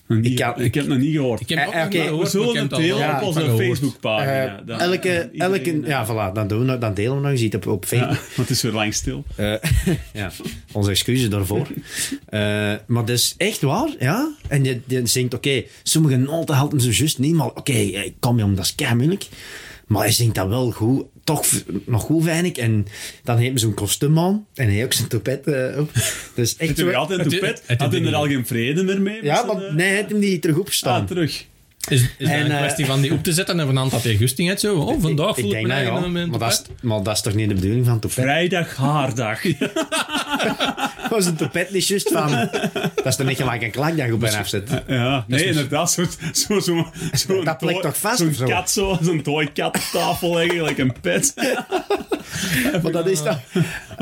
[SPEAKER 2] Niet-
[SPEAKER 1] Ik kan-
[SPEAKER 2] ik heb het nog niet gehoord.
[SPEAKER 3] Ik heb
[SPEAKER 1] Eh,
[SPEAKER 3] ook
[SPEAKER 1] eh,
[SPEAKER 3] nog
[SPEAKER 1] oké,
[SPEAKER 3] niet
[SPEAKER 1] we
[SPEAKER 2] we
[SPEAKER 3] gehoord, maar ik
[SPEAKER 2] zullen
[SPEAKER 3] heb
[SPEAKER 2] het
[SPEAKER 3] het al-
[SPEAKER 2] delen
[SPEAKER 1] ja,
[SPEAKER 2] op
[SPEAKER 1] ik
[SPEAKER 2] onze
[SPEAKER 3] heb het gehoord.
[SPEAKER 2] Facebookpagina.
[SPEAKER 1] Eh,
[SPEAKER 2] Dan-
[SPEAKER 1] elke,
[SPEAKER 2] iedereen,
[SPEAKER 1] elke,
[SPEAKER 2] eh,
[SPEAKER 1] ja, voilà, dan, doen we, dan delen we nog eens iets op, op Facebook.
[SPEAKER 2] Want het is weer lang stil.
[SPEAKER 1] Eh, ja, onze excuses daarvoor. Eh, maar dat is echt waar, ja. En je, je zingt, oké, sommige noten haalt hem zo juist niet, maar oké, ik kom je om, dat is kei moeilijk. Maar hij zingt dat wel goed, toch v- nog goed weinig. En dan heeft hij zo'n kostuum aan en hij heeft ook zijn topet eh, op. Dus echt
[SPEAKER 2] Het is
[SPEAKER 1] zo...
[SPEAKER 2] weer altijd een
[SPEAKER 3] Het-
[SPEAKER 2] toepet.
[SPEAKER 3] het-
[SPEAKER 2] Had hij
[SPEAKER 3] het-
[SPEAKER 2] er al geen vrede meer mee?
[SPEAKER 1] Ja,
[SPEAKER 2] Met
[SPEAKER 1] want
[SPEAKER 2] zijn,
[SPEAKER 1] nee,
[SPEAKER 2] eh,
[SPEAKER 1] hij heeft hem niet terug opgestaan.
[SPEAKER 2] Ah, terug.
[SPEAKER 3] Is, is
[SPEAKER 1] En,
[SPEAKER 3] dat een
[SPEAKER 1] eh,
[SPEAKER 3] kwestie van die op te zetten en van aan dat je goesting hebt? Zo, oh, vandaag voel ik, me
[SPEAKER 1] dat,
[SPEAKER 3] eigen
[SPEAKER 1] ja.
[SPEAKER 3] een moment
[SPEAKER 1] maar, dat
[SPEAKER 3] op,
[SPEAKER 1] is, maar dat is toch niet de bedoeling van topet?
[SPEAKER 2] Vrijdag haardag.
[SPEAKER 1] was een topet niet juist van... dat is toch niet gelijk een klakdag op en afzet?
[SPEAKER 2] Ja, nee, inderdaad. Zo'n zo, zo, zo
[SPEAKER 1] Dat plekt toch vast
[SPEAKER 2] Zo'n
[SPEAKER 1] of zo?
[SPEAKER 2] kat zo, zo'n tooi kat op tafel leggen, like een pet.
[SPEAKER 1] Maar dat
[SPEAKER 3] eh,
[SPEAKER 1] is dan...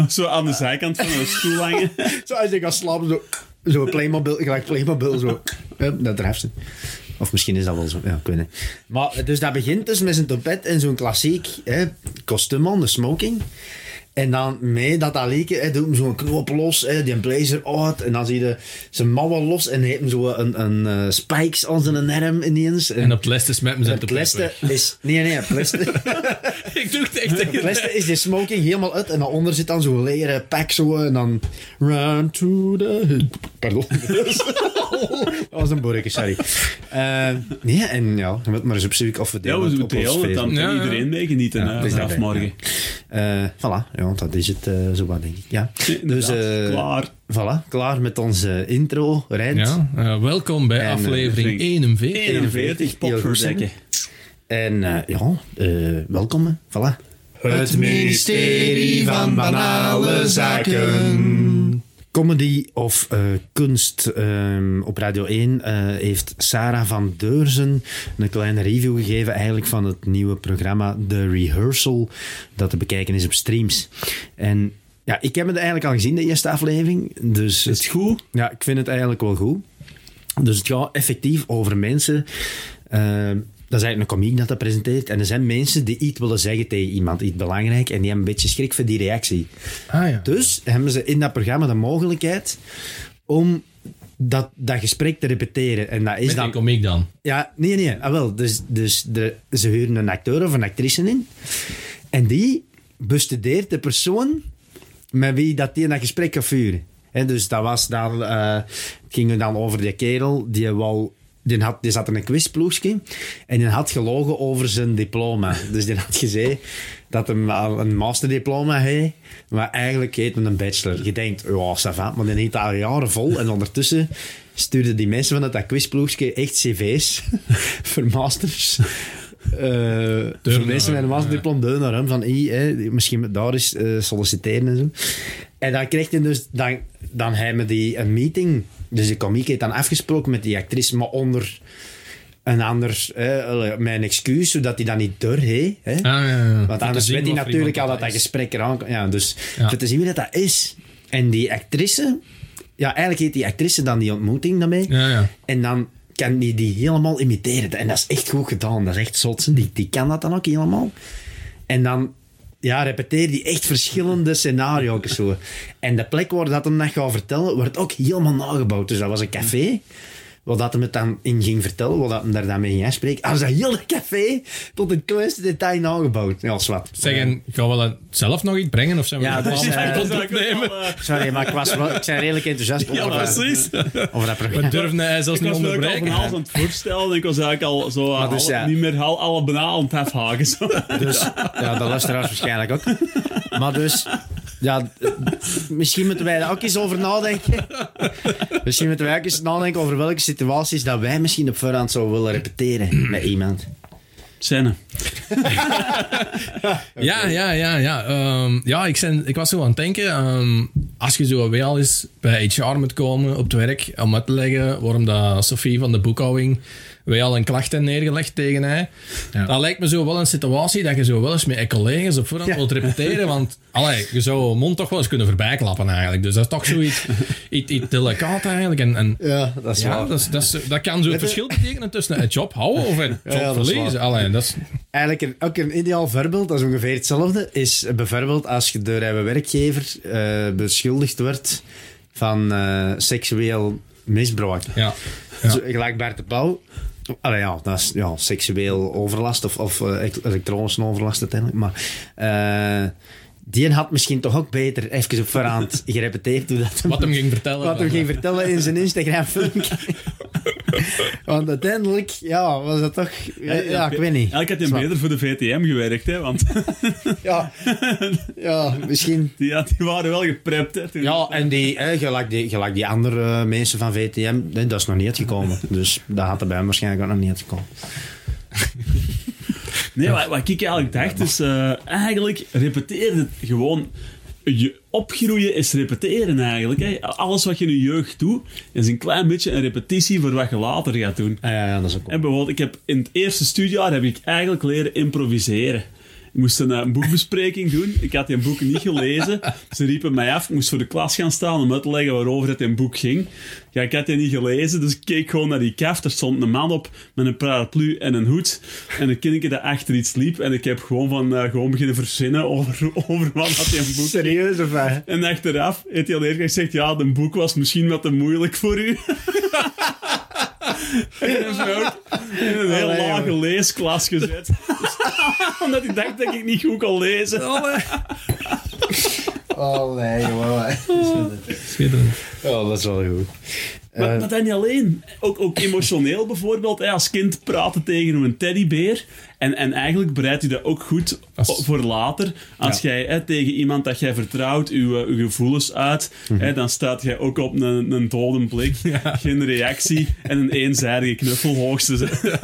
[SPEAKER 2] Zo aan de zijkant van een stoel hangen.
[SPEAKER 1] Zo als je gaat slapen, zo... Zo Playmobil, gelijk Playmobil, zo... Hup, dat draft ze. Of misschien is dat wel zo, ja, kunnen. Maar, dus dat begint dus met zijn topet en zo'n klassiek hè, kostuum aan, de smoking. En dan mee dat dat leek, hè, doet hem zo'n knoop los, hè, die blazer uit. En dan zie je zijn mouwen los en hij heeft hem zo een, een eh, spikes aan zijn arm ineens. En,
[SPEAKER 3] En op het lesten smet hem zijn
[SPEAKER 1] het
[SPEAKER 3] te
[SPEAKER 1] lesten is... Nee, nee, het lesten-
[SPEAKER 3] Ik doe het echt tegen
[SPEAKER 1] het lesten is de smoking helemaal uit en daaronder zit dan zo'n leren pack zo eh, en dan... Run to the... Pardon. dat was een borretje, sorry. Eh, nee, en ja, je moet maar eens opzoeken of we
[SPEAKER 2] Ja,
[SPEAKER 1] delen
[SPEAKER 2] we
[SPEAKER 1] het
[SPEAKER 2] doen
[SPEAKER 1] op
[SPEAKER 2] het
[SPEAKER 1] ons
[SPEAKER 2] heel, want dan
[SPEAKER 1] Facebook.
[SPEAKER 2] kan
[SPEAKER 3] Ja, ja.
[SPEAKER 2] iedereen meegenieten
[SPEAKER 1] Ja,
[SPEAKER 2] hè,
[SPEAKER 1] dat is
[SPEAKER 2] vanaf
[SPEAKER 1] dat,
[SPEAKER 2] morgen.
[SPEAKER 1] Eh, voilà, ja, dat is het eh zo wat, denk ik. Ja. Dus,
[SPEAKER 2] Inderdaad,
[SPEAKER 1] eh,
[SPEAKER 2] klaar.
[SPEAKER 1] Voilà, klaar met onze intro, Rijn.
[SPEAKER 3] Ja, eh, welkom bij
[SPEAKER 1] En, eh,
[SPEAKER 3] aflevering
[SPEAKER 2] denk-
[SPEAKER 3] 41.
[SPEAKER 2] 41
[SPEAKER 1] heel
[SPEAKER 2] pop
[SPEAKER 1] goed,
[SPEAKER 2] voor zekken.
[SPEAKER 1] En eh, ja, eh, welkom, hè. voilà. Het ministerie van Banale Zaken. Comedy of eh, kunst ehm, op Radio 1 eh, heeft Sarah van Deurzen een kleine review gegeven eigenlijk van het nieuwe programma The Rehearsal, dat te bekijken is op streams. En ja, ik heb het eigenlijk al gezien, de eerste aflevering. Dus
[SPEAKER 2] Is het goed?
[SPEAKER 1] ja, ik vind het eigenlijk wel goed. Dus het gaat effectief over mensen. Ehm, dat is eigenlijk een komiek dat dat presenteert. En er zijn mensen die iets willen zeggen tegen iemand, iets belangrijk. En die hebben een beetje schrik voor die reactie.
[SPEAKER 3] Ah ja.
[SPEAKER 1] Dus hebben ze in dat programma de mogelijkheid om dat, dat gesprek te repeteren. En dat is
[SPEAKER 3] Is
[SPEAKER 1] dan...
[SPEAKER 3] dat komiek dan?
[SPEAKER 1] Ja, nee, nee. Ah, wel, dus dus de, ze huren een acteur of een actrice in. En die bestudeert de persoon met wie dat die in dat gesprek gaat vuren. Hè, dus dat was dan... eh, het ging dan over die kerel die wou... Die, had, die zat in een quizploegje en die had gelogen over zijn diploma. Dus die had gezegd dat hij al een masterdiploma heeft, maar eigenlijk heet hem een bachelor. Je denkt, ja, ça va, maar die heeft dat al jaren vol. En ondertussen stuurden die mensen van dat quizploegje echt cv's voor masters. Eh voor mensen met een masterdiploma, deur naar hem, van hey, hè, misschien moet daar eens eh, solliciteren en zo. En dan krijgt hij dus, dan, dan hebben die een meeting. Dus de komiek heeft dan afgesproken met die actrice, maar onder een ander, hè, mijn excuus, zodat hij dat niet door heeft. Hè.
[SPEAKER 3] Ah, ja, ja. Om
[SPEAKER 1] Want
[SPEAKER 3] te
[SPEAKER 1] anders
[SPEAKER 3] zien
[SPEAKER 1] weet hij
[SPEAKER 3] of er
[SPEAKER 1] natuurlijk al
[SPEAKER 3] iemand
[SPEAKER 1] dat dat
[SPEAKER 3] is.
[SPEAKER 1] gesprek eraan komt. Ja, dus
[SPEAKER 3] Ja.
[SPEAKER 1] voor te zien wie dat, dat is. En die actrice... Ja, eigenlijk heet die actrice dan die ontmoeting daarmee.
[SPEAKER 3] Ja, ja.
[SPEAKER 1] En dan kan die die helemaal imiteren. En dat is echt goed gedaan. Dat is echt zot. Die, die kan dat dan ook helemaal. En dan ja, repeteer die echt verschillende scenario's. Zo. En de plek waar dat hem dat gaat vertellen, wordt ook helemaal nagebouwd. Dus dat was een café. Wat dat hem het dan in ging vertellen, wat dat hem daar dan mee ging aanspreken. Als dat hele café tot het kleinste detail nagebouwd. Ja, zwart.
[SPEAKER 3] Zeggen, gaan we dat zelf nog iets brengen of zijn we
[SPEAKER 1] Ja, dus,
[SPEAKER 3] dat
[SPEAKER 1] dat is-
[SPEAKER 3] allemaal
[SPEAKER 1] ja,
[SPEAKER 3] aan
[SPEAKER 1] Eh, dat
[SPEAKER 3] het
[SPEAKER 1] is
[SPEAKER 3] opnemen?
[SPEAKER 1] Sorry, maar ik, was wel, ik ben redelijk enthousiast over,
[SPEAKER 2] Ja,
[SPEAKER 1] dat-
[SPEAKER 2] eh, precies.
[SPEAKER 1] over dat
[SPEAKER 3] We
[SPEAKER 1] programma.
[SPEAKER 3] durven hij zelfs
[SPEAKER 2] Ik
[SPEAKER 3] niet
[SPEAKER 2] was me ook al
[SPEAKER 3] onderbreken.
[SPEAKER 2] van alles aan het voorstellen. Ik was eigenlijk al zo aan
[SPEAKER 1] dus
[SPEAKER 2] alle-
[SPEAKER 1] ja.
[SPEAKER 2] niet meer al, alle bananen aan het afhaken. Zo.
[SPEAKER 1] Dus, ja, de luisteraars waarschijnlijk ook. Maar dus, ja, eh, misschien moeten wij daar ook eens over nadenken. Misschien moeten wij ook eens nadenken over welke situaties dat wij misschien op voorhand zouden willen repeteren met iemand.
[SPEAKER 2] Scène.
[SPEAKER 3] Ja, ja, ja, ja. Ehm, ja, ik, zijn, ik was zo aan het denken. ehm, als je zo wel eens bij HR moet komen op het werk om uit te leggen waarom dat Sophie van de boekhouding wel een klacht heeft neergelegd tegen hij. Dat lijkt me zo wel een situatie dat je zo wel eens met je collega's op voorhand wilt repeteren. Want allee, je zou je mond toch wel eens kunnen voorbijklappen eigenlijk. Dus dat is toch zoiets iets, iets delicaat eigenlijk. En, en
[SPEAKER 1] Ja, dat
[SPEAKER 3] ja, dat, is, dat, is- dat kan zo het verschil betekenen tussen een job houden of een job
[SPEAKER 1] Ja, dat is
[SPEAKER 3] verliezen. Allee, dat is,
[SPEAKER 1] Eigenlijk een, ook een ideaal voorbeeld, dat is ongeveer hetzelfde, is bijvoorbeeld als je door een werkgever eh, beschuldigd wordt van eh, seksueel misbruik.
[SPEAKER 3] ja. Ja.
[SPEAKER 1] Zo, gelijk Bart de Pauw. Allee, ja, dat is ja, seksueel overlast of, of eh, elekt- elektronische overlast uiteindelijk. Maar eh, die had misschien toch ook beter even op voorhand gerepeteerd hoe dat hem-
[SPEAKER 3] Wat hem ging vertellen.
[SPEAKER 1] wat hem ging vertellen in zijn Instagram filmpje. Want uiteindelijk, ja, was dat toch... Ja, ik weet niet.
[SPEAKER 2] Elk had hem
[SPEAKER 1] Zwaar.
[SPEAKER 2] beter voor de VTM gewerkt, hè, want
[SPEAKER 1] Ja, ja misschien...
[SPEAKER 2] die, had- die waren wel geprept. Hè, toen.
[SPEAKER 1] Ja, en die, eh, gelijk, die, gelijk die andere eh, mensen van VTM, nee, dat is nog niet uitgekomen. Dus dat had er bij hem waarschijnlijk ook nog niet uitgekomen.
[SPEAKER 2] Nee, wat, wat ik eigenlijk dacht is, eh, eigenlijk repeteer het gewoon. Je opgroeien is repeteren eigenlijk. Hè. Alles wat je in je jeugd doet, is een klein beetje een repetitie voor wat je later gaat doen.
[SPEAKER 1] Ah, ja, ja, dat is ook
[SPEAKER 2] En bijvoorbeeld, ik heb in het eerste studiejaar heb ik eigenlijk leren improviseren. Ik moest een, eh, een boekbespreking doen. Ik had die boek niet gelezen. Ze riepen mij af. Ik moest voor de klas gaan staan om uit te leggen waarover het in boek ging. Ja, ik had die niet gelezen, dus ik keek gewoon naar die kaft. Er stond een man op met een paraplu en een hoed. En een kindje dat achter iets liep. En ik heb gewoon, van, eh, gewoon beginnen verzinnen over, over wat dat in boek ging.
[SPEAKER 1] Serieus of wat?
[SPEAKER 2] En achteraf heeft hij al eerlijk gezegd, ja, de boek was misschien wat te moeilijk voor u. En hij is me ook in een heel
[SPEAKER 1] Allee,
[SPEAKER 2] lage
[SPEAKER 1] jongen.
[SPEAKER 2] leesklas gezet. Omdat hij dacht dat ik niet goed kon lezen.
[SPEAKER 1] Oh nee, jongen.
[SPEAKER 3] Schitterend.
[SPEAKER 1] Oh, dat is wel goed. Eh,
[SPEAKER 2] Maar, maar dan niet alleen. Ook, ook emotioneel bijvoorbeeld. hè. Als kind praten tegen een teddybeer. En, en eigenlijk bereidt u dat ook goed
[SPEAKER 3] Als-
[SPEAKER 2] voor later. Als jij hè, tegen iemand dat jij vertrouwt uw, eh, uw gevoelens uit,
[SPEAKER 1] Mhm.
[SPEAKER 2] hè, dan staat jij ook op een, een dode blik. Geen reactie en een eenzijdige knuffel hoogstens.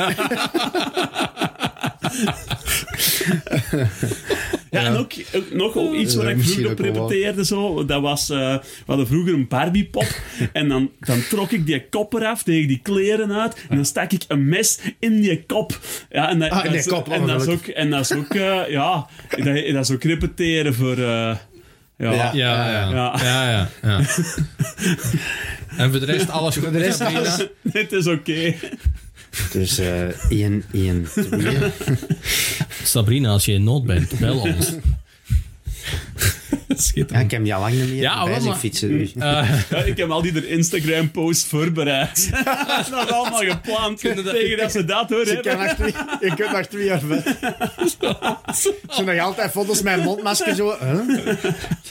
[SPEAKER 2] Ja, en ook, ook nog ook iets
[SPEAKER 1] Ja,
[SPEAKER 2] wat ik
[SPEAKER 1] misschien
[SPEAKER 2] vroeger op
[SPEAKER 1] ook wel wat.
[SPEAKER 2] repeteerde. Zo. Dat was, eh, we hadden vroeger een Barbiepop. en dan, dan trok ik die kop eraf tegen die kleren uit. En dan stak ik een mes in die kop. Ja, en dat,
[SPEAKER 1] Ah, in
[SPEAKER 2] dat
[SPEAKER 1] die
[SPEAKER 2] is-
[SPEAKER 1] kop, oh,
[SPEAKER 2] en dat is ook,
[SPEAKER 1] gelukkig.
[SPEAKER 2] en dat is ook eh, ja, dat, dat is ook repeteren voor... eh,
[SPEAKER 1] Ja.
[SPEAKER 2] ja.
[SPEAKER 3] Ja, ja.
[SPEAKER 2] Ja.
[SPEAKER 3] Ja, ja. ja, en voor de rest alles goed.
[SPEAKER 1] Voor de rest
[SPEAKER 3] Sabrina?
[SPEAKER 1] alles-
[SPEAKER 2] het is oké.
[SPEAKER 1] Dus eh Ian, Ian, twee.
[SPEAKER 3] Sabrina, als je in nood bent, bel ons. Schitterend.
[SPEAKER 1] Ja, ik heb die al lang niet meer
[SPEAKER 3] Ja,
[SPEAKER 1] ja, bij
[SPEAKER 3] wel,
[SPEAKER 1] zich
[SPEAKER 3] maar-
[SPEAKER 1] fietsen. Dus.
[SPEAKER 2] Ja, ik heb al die er Instagram-post voorbereid. dat is allemaal gepland. Tegen dat ze dat hoor
[SPEAKER 1] Je, kan
[SPEAKER 2] hebben.
[SPEAKER 1] nog twee, je kunt nog twee jaar verder. Zo nog altijd foto's met mondmasker zo.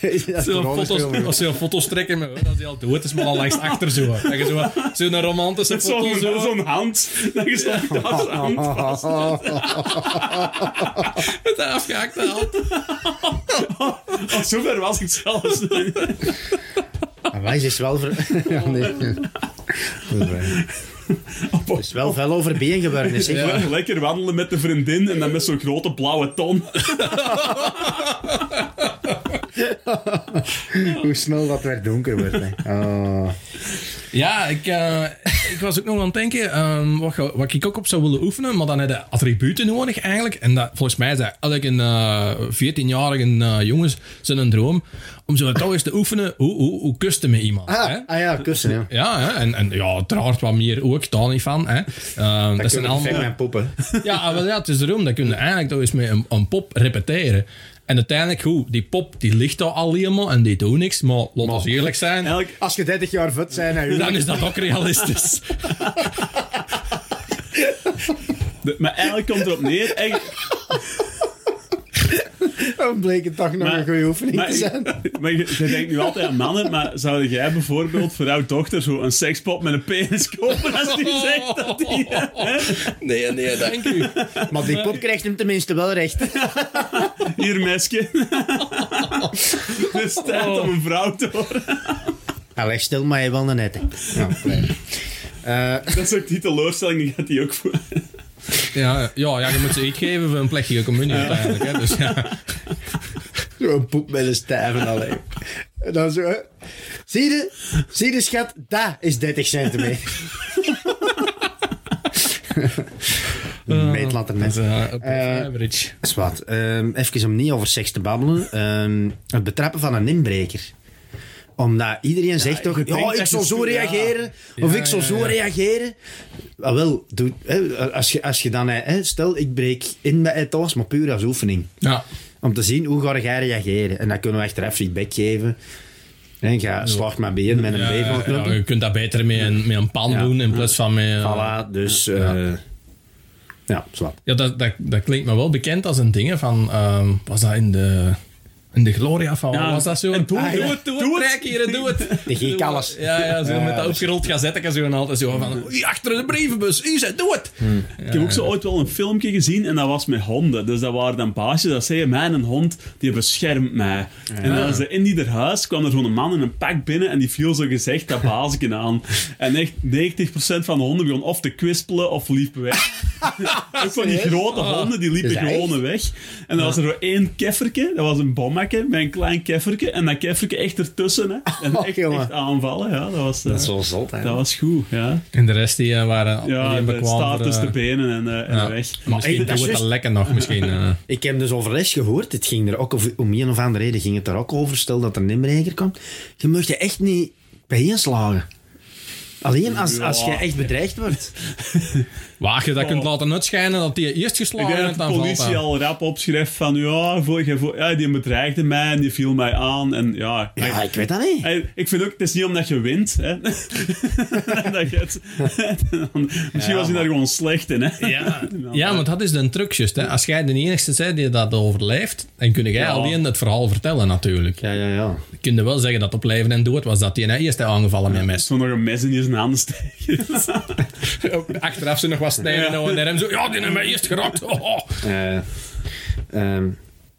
[SPEAKER 1] Huh? Ja,
[SPEAKER 3] Zo
[SPEAKER 1] corona is wel
[SPEAKER 3] foto's,
[SPEAKER 1] goed.
[SPEAKER 3] als je foto's trekken met dat is al dood, is maar al langs achter zo. Dat je zo zo'n romantische foto
[SPEAKER 2] Zo'n
[SPEAKER 3] zo.
[SPEAKER 2] zo'n hand. Dat is zo'n hand vast.
[SPEAKER 3] Met de afgehaakte hand.
[SPEAKER 2] Oh, zover was ik zelfs.
[SPEAKER 1] Ah, Wij is wel ver... ja, nee. Het is wel veel over bijen geworden. dus, Is, echt.
[SPEAKER 2] Le- Lekker wandelen met de vriendin en dan met zo'n grote blauwe ton.
[SPEAKER 1] Hoe snel dat weer donker wordt. Hè. Oh.
[SPEAKER 3] Ja, ik, eh, ik was ook nog aan het denken, ehm, wat, ge- wat ik ook op zou willen oefenen, maar dan heb je attributen nodig eigenlijk. En dat, volgens mij is dat elk een eh, 14-jarige eh, jongens zijn een droom, om zo toch eens te oefenen, hoe, hoe, hoe kusten met iemand. hè?
[SPEAKER 1] Ah, ah ja, kussen. Ja.
[SPEAKER 3] Ja, hè? En, en ja, uiteraard wat meer ook, daar niet van. Hè? Ehm, dat zijn allemaal...
[SPEAKER 1] mijn poppen.
[SPEAKER 3] Ja, ah, wel, ja, het is erom. Dat kun je eigenlijk toch eens met een, een pop repeteren. En uiteindelijk, goed, die pop die ligt daar al helemaal en die doet niks. Maar laten we eerlijk zijn,
[SPEAKER 2] Elk,
[SPEAKER 1] Als je 30 jaar vet zijn, dan,
[SPEAKER 3] dan is dat ook realistisch.
[SPEAKER 2] de- maar eigenlijk komt erop neer. Eigenlijk,
[SPEAKER 1] dan bleek het toch nog
[SPEAKER 2] maar,
[SPEAKER 1] een goede oefening
[SPEAKER 2] maar,
[SPEAKER 1] te zijn.
[SPEAKER 2] maar je, je denkt nu altijd aan mannen, maar zou jij bijvoorbeeld voor jouw dochter zo een sekspop met een penis kopen als die zegt dat die...
[SPEAKER 3] Nee, nee, dank u.
[SPEAKER 1] Maar die pop krijgt hem tenminste wel recht.
[SPEAKER 2] Hier, mesje. Het is tijd om een vrouw te worden.
[SPEAKER 1] Allee, stil maar je wel een net. Ja, Eh,
[SPEAKER 2] Dat is ook die teleurstelling, die gaat die ook voor.
[SPEAKER 3] Ja, ja, ja, je moet ze iets geven voor een plechtige communie uiteindelijk. Hè, dus, ja.
[SPEAKER 1] Zo'n poep met een stijven alleen. En dan zo... hè. Zie je? Zie je, schat? Dat is 30 centimeter. Een meet laat er net.
[SPEAKER 3] Dus, ja, op
[SPEAKER 1] Eh,
[SPEAKER 3] average.
[SPEAKER 1] Dat is wat. Ehm, even om niet over seks te babbelen. Ehm, het betrappen van een inbreker. Omdat iedereen zegt toch...
[SPEAKER 2] denkt
[SPEAKER 1] Ja, ik
[SPEAKER 2] dat
[SPEAKER 1] zal
[SPEAKER 2] je-
[SPEAKER 1] zo
[SPEAKER 2] ja.
[SPEAKER 1] reageren. Of
[SPEAKER 3] Ja,
[SPEAKER 1] ik zal
[SPEAKER 3] ja,
[SPEAKER 1] zo
[SPEAKER 3] ja.
[SPEAKER 1] reageren. Ah, wel, doe, hè, als, je, als je dan... Hè, stel, ik breek in bij het thuis, maar puur als oefening.
[SPEAKER 3] Ja,
[SPEAKER 1] Om te zien hoe ga jij reageren. En dan kunnen we achteraf feedback geven. En ga slacht maar binnen met een
[SPEAKER 3] ja, ja,
[SPEAKER 1] bevel
[SPEAKER 3] je kunt dat beter met een, met een pan
[SPEAKER 1] Ja.
[SPEAKER 3] doen in plaats van met... eh,
[SPEAKER 1] Voilà, dus... eh, ja, zwart.
[SPEAKER 3] Ja, dat, dat, dat klinkt me wel bekend als een ding hè, van... ehm, was dat in de... In de Gloria van...
[SPEAKER 2] Ja,
[SPEAKER 3] was dat zo?
[SPEAKER 2] en doe-
[SPEAKER 3] Ah,
[SPEAKER 2] doe
[SPEAKER 3] het, doe het, trek hier, doe het.
[SPEAKER 1] De giek alles.
[SPEAKER 3] Ja, ja, zo met dat opgerold gazette zo en altijd zo van... "Oei, Achter de brievenbus, u zei, doe het!
[SPEAKER 2] Ik heb ook zo ooit wel een filmpje gezien en dat was met honden. Dus dat waren dan paasjes dat zeiden, mijn hond, die beschermt mij. En dan ze in die huis kwam er zo'n man in een pak binnen en die viel zo gezegd dat baasje aan. En echt 90% van de honden begon of te kwispelen of liepen weg. ook van die grote honden, die liepen
[SPEAKER 1] Ah. Is dat
[SPEAKER 2] gewoon weg. En dan was er zo één kefferke, dat was een bom gemakje met een klein kefferke en dat kefferke echt ertussen. Hè. En
[SPEAKER 1] Och,
[SPEAKER 2] echt,
[SPEAKER 1] Oh, jongen.
[SPEAKER 2] echt aanvallen, ja. Dat was, eh,
[SPEAKER 1] Dat is wel zot, hè.
[SPEAKER 2] dat was goed, ja.
[SPEAKER 3] En de rest die eh, waren
[SPEAKER 2] Ja,
[SPEAKER 3] die
[SPEAKER 2] de
[SPEAKER 3] bekwaam
[SPEAKER 2] staart
[SPEAKER 3] voor,
[SPEAKER 2] tussen de
[SPEAKER 3] eh,
[SPEAKER 2] benen en, eh, en
[SPEAKER 3] ja.
[SPEAKER 2] weg.
[SPEAKER 3] Maar Misschien
[SPEAKER 1] ik-
[SPEAKER 3] doet
[SPEAKER 1] dat is
[SPEAKER 3] het
[SPEAKER 1] juist-
[SPEAKER 3] dat lekker nog. Misschien, eh.
[SPEAKER 1] Ik heb dus over les gehoord. Het ging er ook over, om een of andere reden ging het er ook over. Stel dat er een inbreker komt. Je mag je echt niet bijeenslagen. Alleen als,
[SPEAKER 2] Ja.
[SPEAKER 1] als je echt bedreigd wordt.
[SPEAKER 3] Waar je dat
[SPEAKER 2] Oh.
[SPEAKER 3] kunt laten uitschijnen dat die eerst
[SPEAKER 2] Ik
[SPEAKER 3] geslagen
[SPEAKER 2] denk dat
[SPEAKER 3] werd,
[SPEAKER 2] de
[SPEAKER 3] dan valt eh.
[SPEAKER 2] politie
[SPEAKER 3] dat.
[SPEAKER 2] al rap opschreef van ja, voor, jij voor- ja, die bedreigde mij en die viel mij aan. En ja,
[SPEAKER 1] Ja, ik weet dat niet.
[SPEAKER 2] Hey, ik vind ook, het is niet omdat je wint. Hè. dat je het, misschien was hij daar gewoon slecht in. Hè.
[SPEAKER 3] Ja, ja, want dat is de truc, juist, hè. Als jij de enigste bent die dat overleeft, dan kun jij
[SPEAKER 2] Ja.
[SPEAKER 3] alleen het verhaal vertellen, natuurlijk.
[SPEAKER 1] Ja, ja, ja.
[SPEAKER 3] Je kunt wel zeggen dat op leven en dood was dat die nou eerst aangevallen met een mes.
[SPEAKER 2] Zo nog een mes in je hand steken.
[SPEAKER 3] Achteraf ze nog wat snijden
[SPEAKER 2] Ja.
[SPEAKER 3] nou, en hem zo, ja, die hebben mij eerst geraakt. Oh, oh.
[SPEAKER 1] Eh, ehm,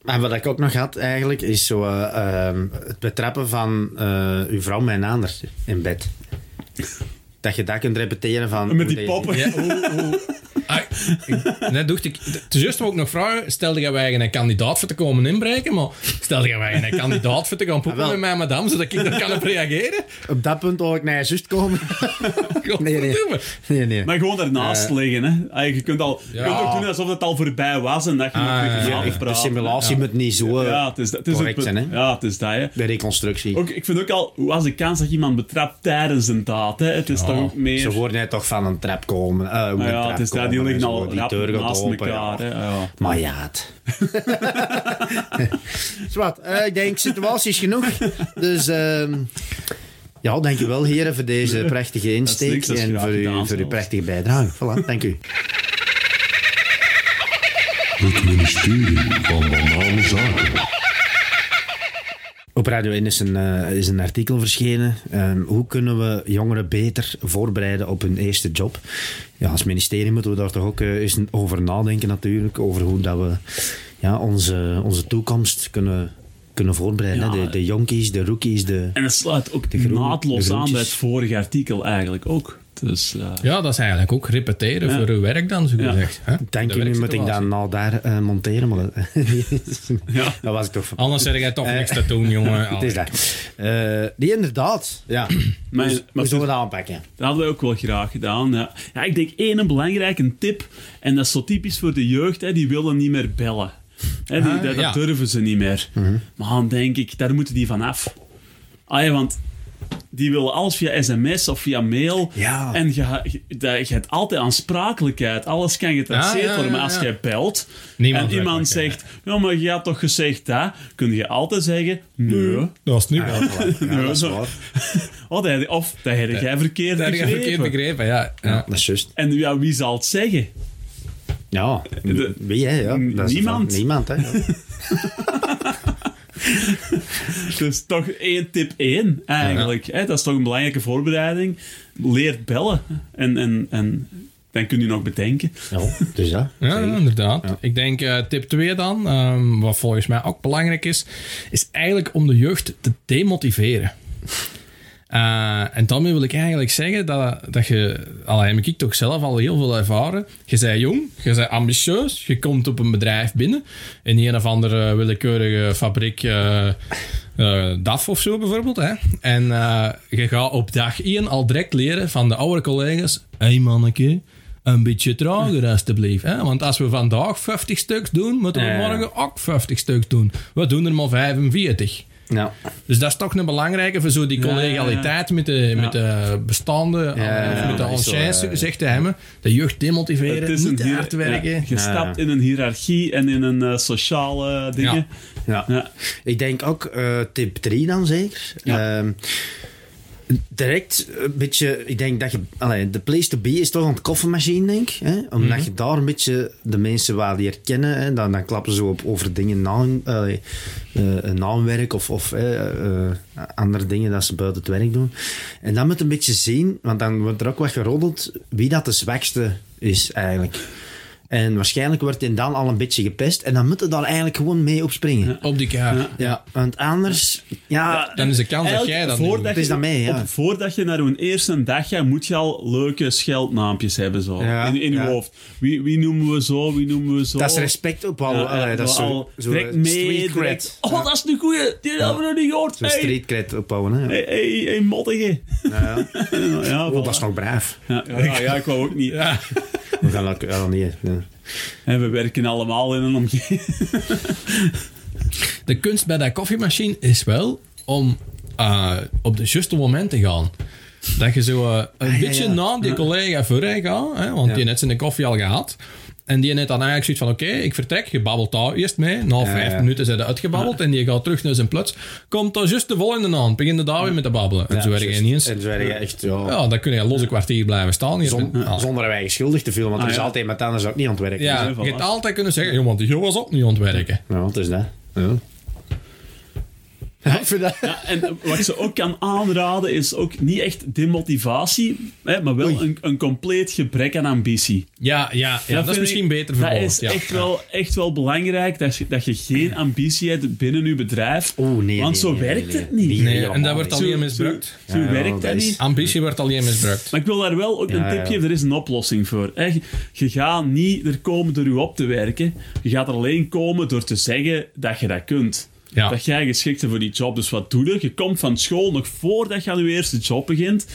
[SPEAKER 1] en wat ik ook nog had eigenlijk, is zo, eh, ehm, het betrappen van eh, uw vrouw mijn ander in bed. Dat je dat kunt repeteren van...
[SPEAKER 2] Met die
[SPEAKER 1] hoe dat je-
[SPEAKER 2] poppen.
[SPEAKER 3] Ja, hoe, hoe. Ah, ik- net dacht ik, het is juist ook nog vragen, stelde jij wij een kandidaat voor te komen inbreken, maar stelde jij wij een kandidaat voor te gaan poepen
[SPEAKER 1] Ah, wel.
[SPEAKER 3] met mijn madame, zodat ik daar kan op reageren?
[SPEAKER 1] Op dat punt wil ik naar je zus komen. nee.
[SPEAKER 3] Godverdomme.
[SPEAKER 1] nee, nee.
[SPEAKER 2] Maar gewoon daarnaast liggen. Hè. Eigenlijk, je kunt, al,
[SPEAKER 3] Ja.
[SPEAKER 2] je kunt ook doen alsof het al voorbij was en dat je
[SPEAKER 3] Ah,
[SPEAKER 2] nog
[SPEAKER 3] ja,
[SPEAKER 2] terug
[SPEAKER 3] ja,
[SPEAKER 2] gaat
[SPEAKER 3] echt
[SPEAKER 1] de
[SPEAKER 2] praten.
[SPEAKER 1] simulatie moet niet zo...
[SPEAKER 2] Ja,
[SPEAKER 1] eh,
[SPEAKER 2] ja, het is, dat- het is
[SPEAKER 1] correct
[SPEAKER 2] het,
[SPEAKER 1] zijn, hè?
[SPEAKER 2] Ja, het is dat. Hè.
[SPEAKER 1] De reconstructie.
[SPEAKER 2] Ook, ik vind ook al, hoe was de kans dat je iemand betrapt tijdens een daad? Hè? Het is
[SPEAKER 3] Ja.
[SPEAKER 2] toch ook meer...
[SPEAKER 1] Ze worden net toch van een trap komen. eh, hoe
[SPEAKER 2] Maar
[SPEAKER 1] een
[SPEAKER 2] ja,
[SPEAKER 1] trap
[SPEAKER 2] het is daar,
[SPEAKER 1] komen
[SPEAKER 2] die
[SPEAKER 1] en
[SPEAKER 2] liggen
[SPEAKER 1] zo,
[SPEAKER 2] al
[SPEAKER 1] die
[SPEAKER 2] rap
[SPEAKER 1] deur gaat
[SPEAKER 2] naast
[SPEAKER 1] open,
[SPEAKER 2] elkaar.
[SPEAKER 1] ja.
[SPEAKER 2] Hè? Ja.
[SPEAKER 1] Maar ja, het. Zwart, eh, ik denk, situatie is genoeg. Dus ehm ja, dankjewel heren voor deze prachtige insteek
[SPEAKER 2] niks, dat is
[SPEAKER 1] en
[SPEAKER 2] graag
[SPEAKER 1] voor, uw-
[SPEAKER 2] gedaan,
[SPEAKER 1] voor uw
[SPEAKER 2] zelfs.
[SPEAKER 1] prachtige bijdrage. Voilà, dank u.
[SPEAKER 4] Het ministerie van Bananenzaken.
[SPEAKER 1] Op Radio 1 is een, eh, is een artikel verschenen. Ehm, hoe kunnen we jongeren beter voorbereiden op hun eerste job? Ja, als ministerie moeten we daar toch ook eh, eens over nadenken natuurlijk. Over hoe dat we ja, onze, onze toekomst kunnen, kunnen voorbereiden.
[SPEAKER 2] Ja.
[SPEAKER 1] hè. De, de jonkies, de rookies, de...
[SPEAKER 2] En het sluit ook
[SPEAKER 1] groen-
[SPEAKER 2] naadloos
[SPEAKER 1] de
[SPEAKER 2] aan
[SPEAKER 1] groentjes.
[SPEAKER 2] bij het vorige artikel eigenlijk ook. Dus eh,
[SPEAKER 3] Ja, dat is eigenlijk ook repeteren voor uw werk dan, zo
[SPEAKER 2] Ja.
[SPEAKER 3] gezegd. hè?
[SPEAKER 1] Dank
[SPEAKER 3] De
[SPEAKER 1] u, nu moet ik
[SPEAKER 3] werksituatie.
[SPEAKER 1] dat nou daar eh, monteren. Maar dat,
[SPEAKER 2] Ja.
[SPEAKER 1] dat was ik toch...
[SPEAKER 3] Anders zeg jij toch niks te doen, jongen.
[SPEAKER 1] Eh, Het is dat. Eh, die inderdaad. Ja.
[SPEAKER 2] Maar-
[SPEAKER 1] Hoe-
[SPEAKER 2] maar-
[SPEAKER 1] hoe zullen we dat aanpakken?
[SPEAKER 2] dat hadden we ook wel graag gedaan. Ja. Ja, ik denk één een belangrijke tip, en dat is zo typisch voor de jeugd, hè, die willen niet meer bellen. Hè, die,
[SPEAKER 3] Ah,
[SPEAKER 2] dat, dat
[SPEAKER 3] ja.
[SPEAKER 2] durven ze niet meer.
[SPEAKER 1] Mhm.
[SPEAKER 2] Maar dan denk ik, daar moeten die van af. Ah, ja, want die willen alles via sms of via mail.
[SPEAKER 3] Ah.
[SPEAKER 1] Ja.
[SPEAKER 2] En je, ha- je, dat- je hebt altijd aansprakelijkheid. Alles kan getraceerd
[SPEAKER 3] Ja, ja,
[SPEAKER 2] worden. Maar
[SPEAKER 3] ja,
[SPEAKER 2] als
[SPEAKER 3] ja.
[SPEAKER 2] jij belt
[SPEAKER 3] Niemand
[SPEAKER 2] en iemand
[SPEAKER 3] werkt, ja.
[SPEAKER 2] zegt... Ja, maar je had toch gezegd dat? Kun je altijd zeggen... Nee.
[SPEAKER 3] Dat is nu
[SPEAKER 1] Ja,
[SPEAKER 3] wel.
[SPEAKER 1] voilà. Ja, dat is
[SPEAKER 2] zo-
[SPEAKER 1] waar.
[SPEAKER 2] Oh, dat, of dat heb jij verkeerd
[SPEAKER 3] Dat heb je
[SPEAKER 2] begrepen.
[SPEAKER 3] verkeerd begrepen, ja. ja.
[SPEAKER 1] Dat is juist.
[SPEAKER 2] En ja, wie zal het zeggen?
[SPEAKER 1] Ja,
[SPEAKER 2] De-
[SPEAKER 1] wie hè? er, Ja, dat is
[SPEAKER 2] Niemand.
[SPEAKER 1] van- Niemand, hè? ja.
[SPEAKER 2] Dus toch één tip één, eigenlijk. Hè, dat is toch een belangrijke voorbereiding. Leer bellen. En, en, en dan kun je nog bedenken.
[SPEAKER 1] Ja, er dus dat.
[SPEAKER 3] Ja, ja, inderdaad. Ik denk eh, tip 2 dan, ehm, wat volgens mij ook belangrijk is, is eigenlijk om de jeugd te demotiveren. Eh, en daarmee wil ik eigenlijk zeggen dat, dat je, al heb ik toch zelf al heel veel ervaren, je bent jong, je bent ambitieus, je komt op een bedrijf binnen, in een of andere willekeurige fabriek, eh, eh, DAF of zo bijvoorbeeld, hè. en eh, je gaat op dag 1 al direct leren van de oude collega's, hé hey manneke, een beetje trager alsjeblieft, hè? want als we vandaag 50 stuks doen, moeten we
[SPEAKER 1] Ja.
[SPEAKER 3] morgen ook 50 stuks doen. We doen er maar 45.
[SPEAKER 1] Ja.
[SPEAKER 3] Dus dat is toch een belangrijke voor zo die collegialiteit met de, met de bestaande,
[SPEAKER 1] ja,
[SPEAKER 3] of
[SPEAKER 1] ja,
[SPEAKER 3] met de
[SPEAKER 1] dat is eh, zo,
[SPEAKER 3] anciens,
[SPEAKER 1] ja, ja.
[SPEAKER 3] gezegd te hebben. De jeugd demotiveren,
[SPEAKER 2] Het is
[SPEAKER 3] niet te
[SPEAKER 2] hier-
[SPEAKER 3] hard werken.
[SPEAKER 2] ja, je stapt in een hiërarchie en in een eh, sociale dingen.
[SPEAKER 1] Ja.
[SPEAKER 2] Ja.
[SPEAKER 1] Ik denk ook eh, tip 3 dan zeker. Ehm, direct een beetje, ik denk dat je, allee, de place to be is toch aan de koffiemachine, denk ik. Hè? Omdat je daar een beetje de mensen waar die herkennen, hè, dan, dan klappen ze op over dingen, na, hun- allee, eh, een naamwerk of, of hè, eh, andere dingen dat ze buiten het werk doen. En dan moet je een beetje zien, want dan wordt er ook wat geroddeld, wie dat de zwakste is eigenlijk. En waarschijnlijk wordt hij dan al een beetje gepest. En dan moet hij daar eigenlijk gewoon mee op springen. Ja,
[SPEAKER 3] Op die kaart.
[SPEAKER 1] want anders... Ja,
[SPEAKER 3] Dan is de kans dat jij
[SPEAKER 2] Ah, Eigenlijk,
[SPEAKER 3] dat
[SPEAKER 2] voordat
[SPEAKER 3] doet.
[SPEAKER 1] Het is
[SPEAKER 2] je-
[SPEAKER 1] dan mee, ja.
[SPEAKER 2] op- voordat je naar hun eerste dag gaat, moet je al leuke scheldnaampjes hebben zo,
[SPEAKER 1] Ja,
[SPEAKER 2] in, in je
[SPEAKER 1] ja.
[SPEAKER 2] hoofd. Wie, wie noemen we zo, wie noemen we zo.
[SPEAKER 1] dat is respect op al.
[SPEAKER 2] Ja,
[SPEAKER 1] allee,
[SPEAKER 2] ja,
[SPEAKER 1] dat is
[SPEAKER 2] maar
[SPEAKER 1] zo,
[SPEAKER 2] al
[SPEAKER 1] zo
[SPEAKER 2] direct
[SPEAKER 1] eh,
[SPEAKER 2] mee,
[SPEAKER 1] street
[SPEAKER 2] direct,
[SPEAKER 1] cred.
[SPEAKER 2] Oh, dat is een goeie, die hebben we nog niet gehoord.
[SPEAKER 1] Zo
[SPEAKER 2] Hey,
[SPEAKER 1] street cred opbouwen. Hè.
[SPEAKER 2] hey, hey, hey, mottige. Ja, ja,
[SPEAKER 1] Oh, dat is nog braaf.
[SPEAKER 2] ja, ja, ja, ik wou ook niet.
[SPEAKER 1] We gaan dat ja, nee, nee.
[SPEAKER 2] En we werken allemaal in een omgeving.
[SPEAKER 3] De kunst bij dat koffiemachine is wel om eh, op de juiste moment te gaan. Dat je zo eh, een
[SPEAKER 1] ja,
[SPEAKER 3] beetje
[SPEAKER 1] ja.
[SPEAKER 3] na die collega vooruit gaat, hè, want die net zijn koffie al gehad. En die net dan eigenlijk zoiets van, oké, ik vertrek. Je babbelt daar eerst mee. Na vijf
[SPEAKER 1] ja.
[SPEAKER 3] minuten zijn ze uitgebabbeld en je gaat terug naar zijn plots. Komt dan juist de volgende aan. Begin je daar weer met te babbelen. En zo erg je
[SPEAKER 1] juist.
[SPEAKER 3] niet eens.
[SPEAKER 1] En zo erg je echt, ja.
[SPEAKER 3] Ja, dan kun je een losse kwartier blijven staan. Je
[SPEAKER 1] zon-
[SPEAKER 3] bent- ah.
[SPEAKER 1] zonder een eigen schuldig te voelen, want er
[SPEAKER 2] Ah,
[SPEAKER 1] is
[SPEAKER 2] ja.
[SPEAKER 1] altijd iemand anders dat ook niet aan het werken. dus-
[SPEAKER 3] Ja,
[SPEAKER 2] hè, voilà.
[SPEAKER 3] je hebt altijd kunnen zeggen, joh, want die was ook niet aan het werken.
[SPEAKER 1] Ja, wat is dat? Ja. Ik vind dat-
[SPEAKER 2] Ja, en wat ik ze ook kan aanraden is ook niet echt demotivatie, hè, maar wel een, een compleet gebrek aan ambitie.
[SPEAKER 3] Ja, ja, ja dat,
[SPEAKER 2] vind
[SPEAKER 3] is
[SPEAKER 2] ik-
[SPEAKER 3] misschien beter
[SPEAKER 2] Dat
[SPEAKER 3] verwoord.
[SPEAKER 2] is
[SPEAKER 3] ja.
[SPEAKER 2] echt, Wel, echt wel belangrijk dat je, dat je geen ambitie hebt binnen je bedrijf.
[SPEAKER 1] Oeh, nee, nee,
[SPEAKER 2] want zo
[SPEAKER 1] nee, nee,
[SPEAKER 2] werkt
[SPEAKER 1] nee.
[SPEAKER 2] het niet.
[SPEAKER 1] Nee,
[SPEAKER 3] Nee, en
[SPEAKER 1] helemaal
[SPEAKER 3] dat wordt
[SPEAKER 1] niet.
[SPEAKER 3] alleen
[SPEAKER 2] Zo-
[SPEAKER 3] misbruikt.
[SPEAKER 2] Zo, zo
[SPEAKER 1] Ja,
[SPEAKER 2] werkt dat
[SPEAKER 1] dat is-
[SPEAKER 2] niet.
[SPEAKER 3] Ambitie wordt alleen misbruikt.
[SPEAKER 2] Maar ik wil daar wel ook een
[SPEAKER 1] Ja,
[SPEAKER 2] tipje
[SPEAKER 1] ja.
[SPEAKER 2] geven. Er is een oplossing voor. hè. Je- Je gaat niet er komen door je op te werken. Je gaat er alleen komen door te zeggen dat je dat kunt.
[SPEAKER 3] Ja.
[SPEAKER 2] Dat jij geschikt bent voor die job. Dus wat doe je? Je komt van school nog voordat je aan je eerste job begint.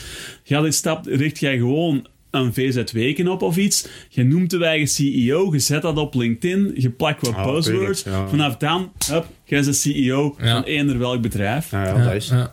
[SPEAKER 2] Ga dit stap, richt jij gewoon een VZ-weken op of iets. Je noemt de eigen CEO, je zet dat op LinkedIn, je plakt wat
[SPEAKER 1] Ah,
[SPEAKER 2] buzzwords.
[SPEAKER 1] tuurlijk, ja.
[SPEAKER 2] Vanaf dan, hup, jij is de CEO
[SPEAKER 3] Ja.
[SPEAKER 2] van eender welk bedrijf.
[SPEAKER 1] Ja, ja, dat is.
[SPEAKER 3] Ja.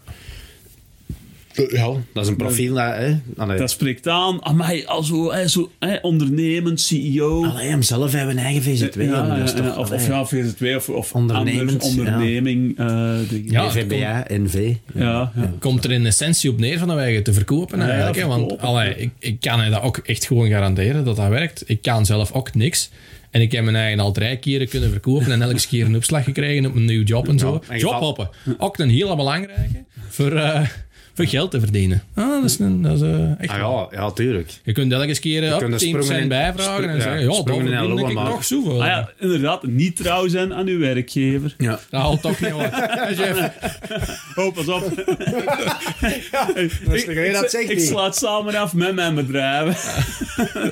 [SPEAKER 1] Dat is een profiel. Dat, hè? Allee.
[SPEAKER 2] Dat spreekt aan. Amai, al zo, hè, zo hè, ondernemend, E CEO.
[SPEAKER 1] Allee, hem zelf hebben een eigen VZW.
[SPEAKER 2] Ja,
[SPEAKER 1] dat is
[SPEAKER 2] ja,
[SPEAKER 1] toch,
[SPEAKER 2] ja, of,
[SPEAKER 1] allee.
[SPEAKER 2] of ja, VZW of, of
[SPEAKER 1] Ondernemend,
[SPEAKER 2] anders onderneming. eh, dingen.
[SPEAKER 3] Ja.
[SPEAKER 1] VBA, NV.
[SPEAKER 2] ja, ja.
[SPEAKER 3] Komt er in essentie op neer van dat wij je te verkopen eigenlijk. hè? Want
[SPEAKER 2] verkopen.
[SPEAKER 3] allee, ik, ik kan je dat ook echt gewoon garanderen dat dat werkt. Ik kan zelf ook niks. En ik heb mijn eigen al drie keren kunnen verkopen en elke keer een opslag gekregen op een nieuw job en zo.
[SPEAKER 1] en je
[SPEAKER 3] job
[SPEAKER 1] valt-
[SPEAKER 3] hoppen. Ook een hele belangrijke voor, eh, voor geld te verdienen. Ah, dat is, een, dat is eh, echt
[SPEAKER 1] Ah,
[SPEAKER 3] wel.
[SPEAKER 1] ja, ja, tuurlijk.
[SPEAKER 3] Je kunt elke keer eh,
[SPEAKER 1] kunt
[SPEAKER 3] op
[SPEAKER 1] er
[SPEAKER 3] 10
[SPEAKER 1] sprongen
[SPEAKER 3] cent
[SPEAKER 1] in-
[SPEAKER 3] bijvragen en
[SPEAKER 1] spro-
[SPEAKER 3] zeggen,
[SPEAKER 1] ja,
[SPEAKER 3] ja, dan
[SPEAKER 1] sprongen in en
[SPEAKER 3] verdien ik
[SPEAKER 1] lommen
[SPEAKER 3] nog
[SPEAKER 1] maken.
[SPEAKER 3] zoveel.
[SPEAKER 2] Ah ja, inderdaad, niet trouw zijn aan uw werkgever.
[SPEAKER 1] Ja.
[SPEAKER 3] Dat houdt toch niet hoor. Chef,
[SPEAKER 2] Oh, pas op.
[SPEAKER 1] is toch- dat
[SPEAKER 2] ik,
[SPEAKER 1] zegt
[SPEAKER 2] ik
[SPEAKER 1] niet.
[SPEAKER 2] slaat samen af met mijn bedrijf.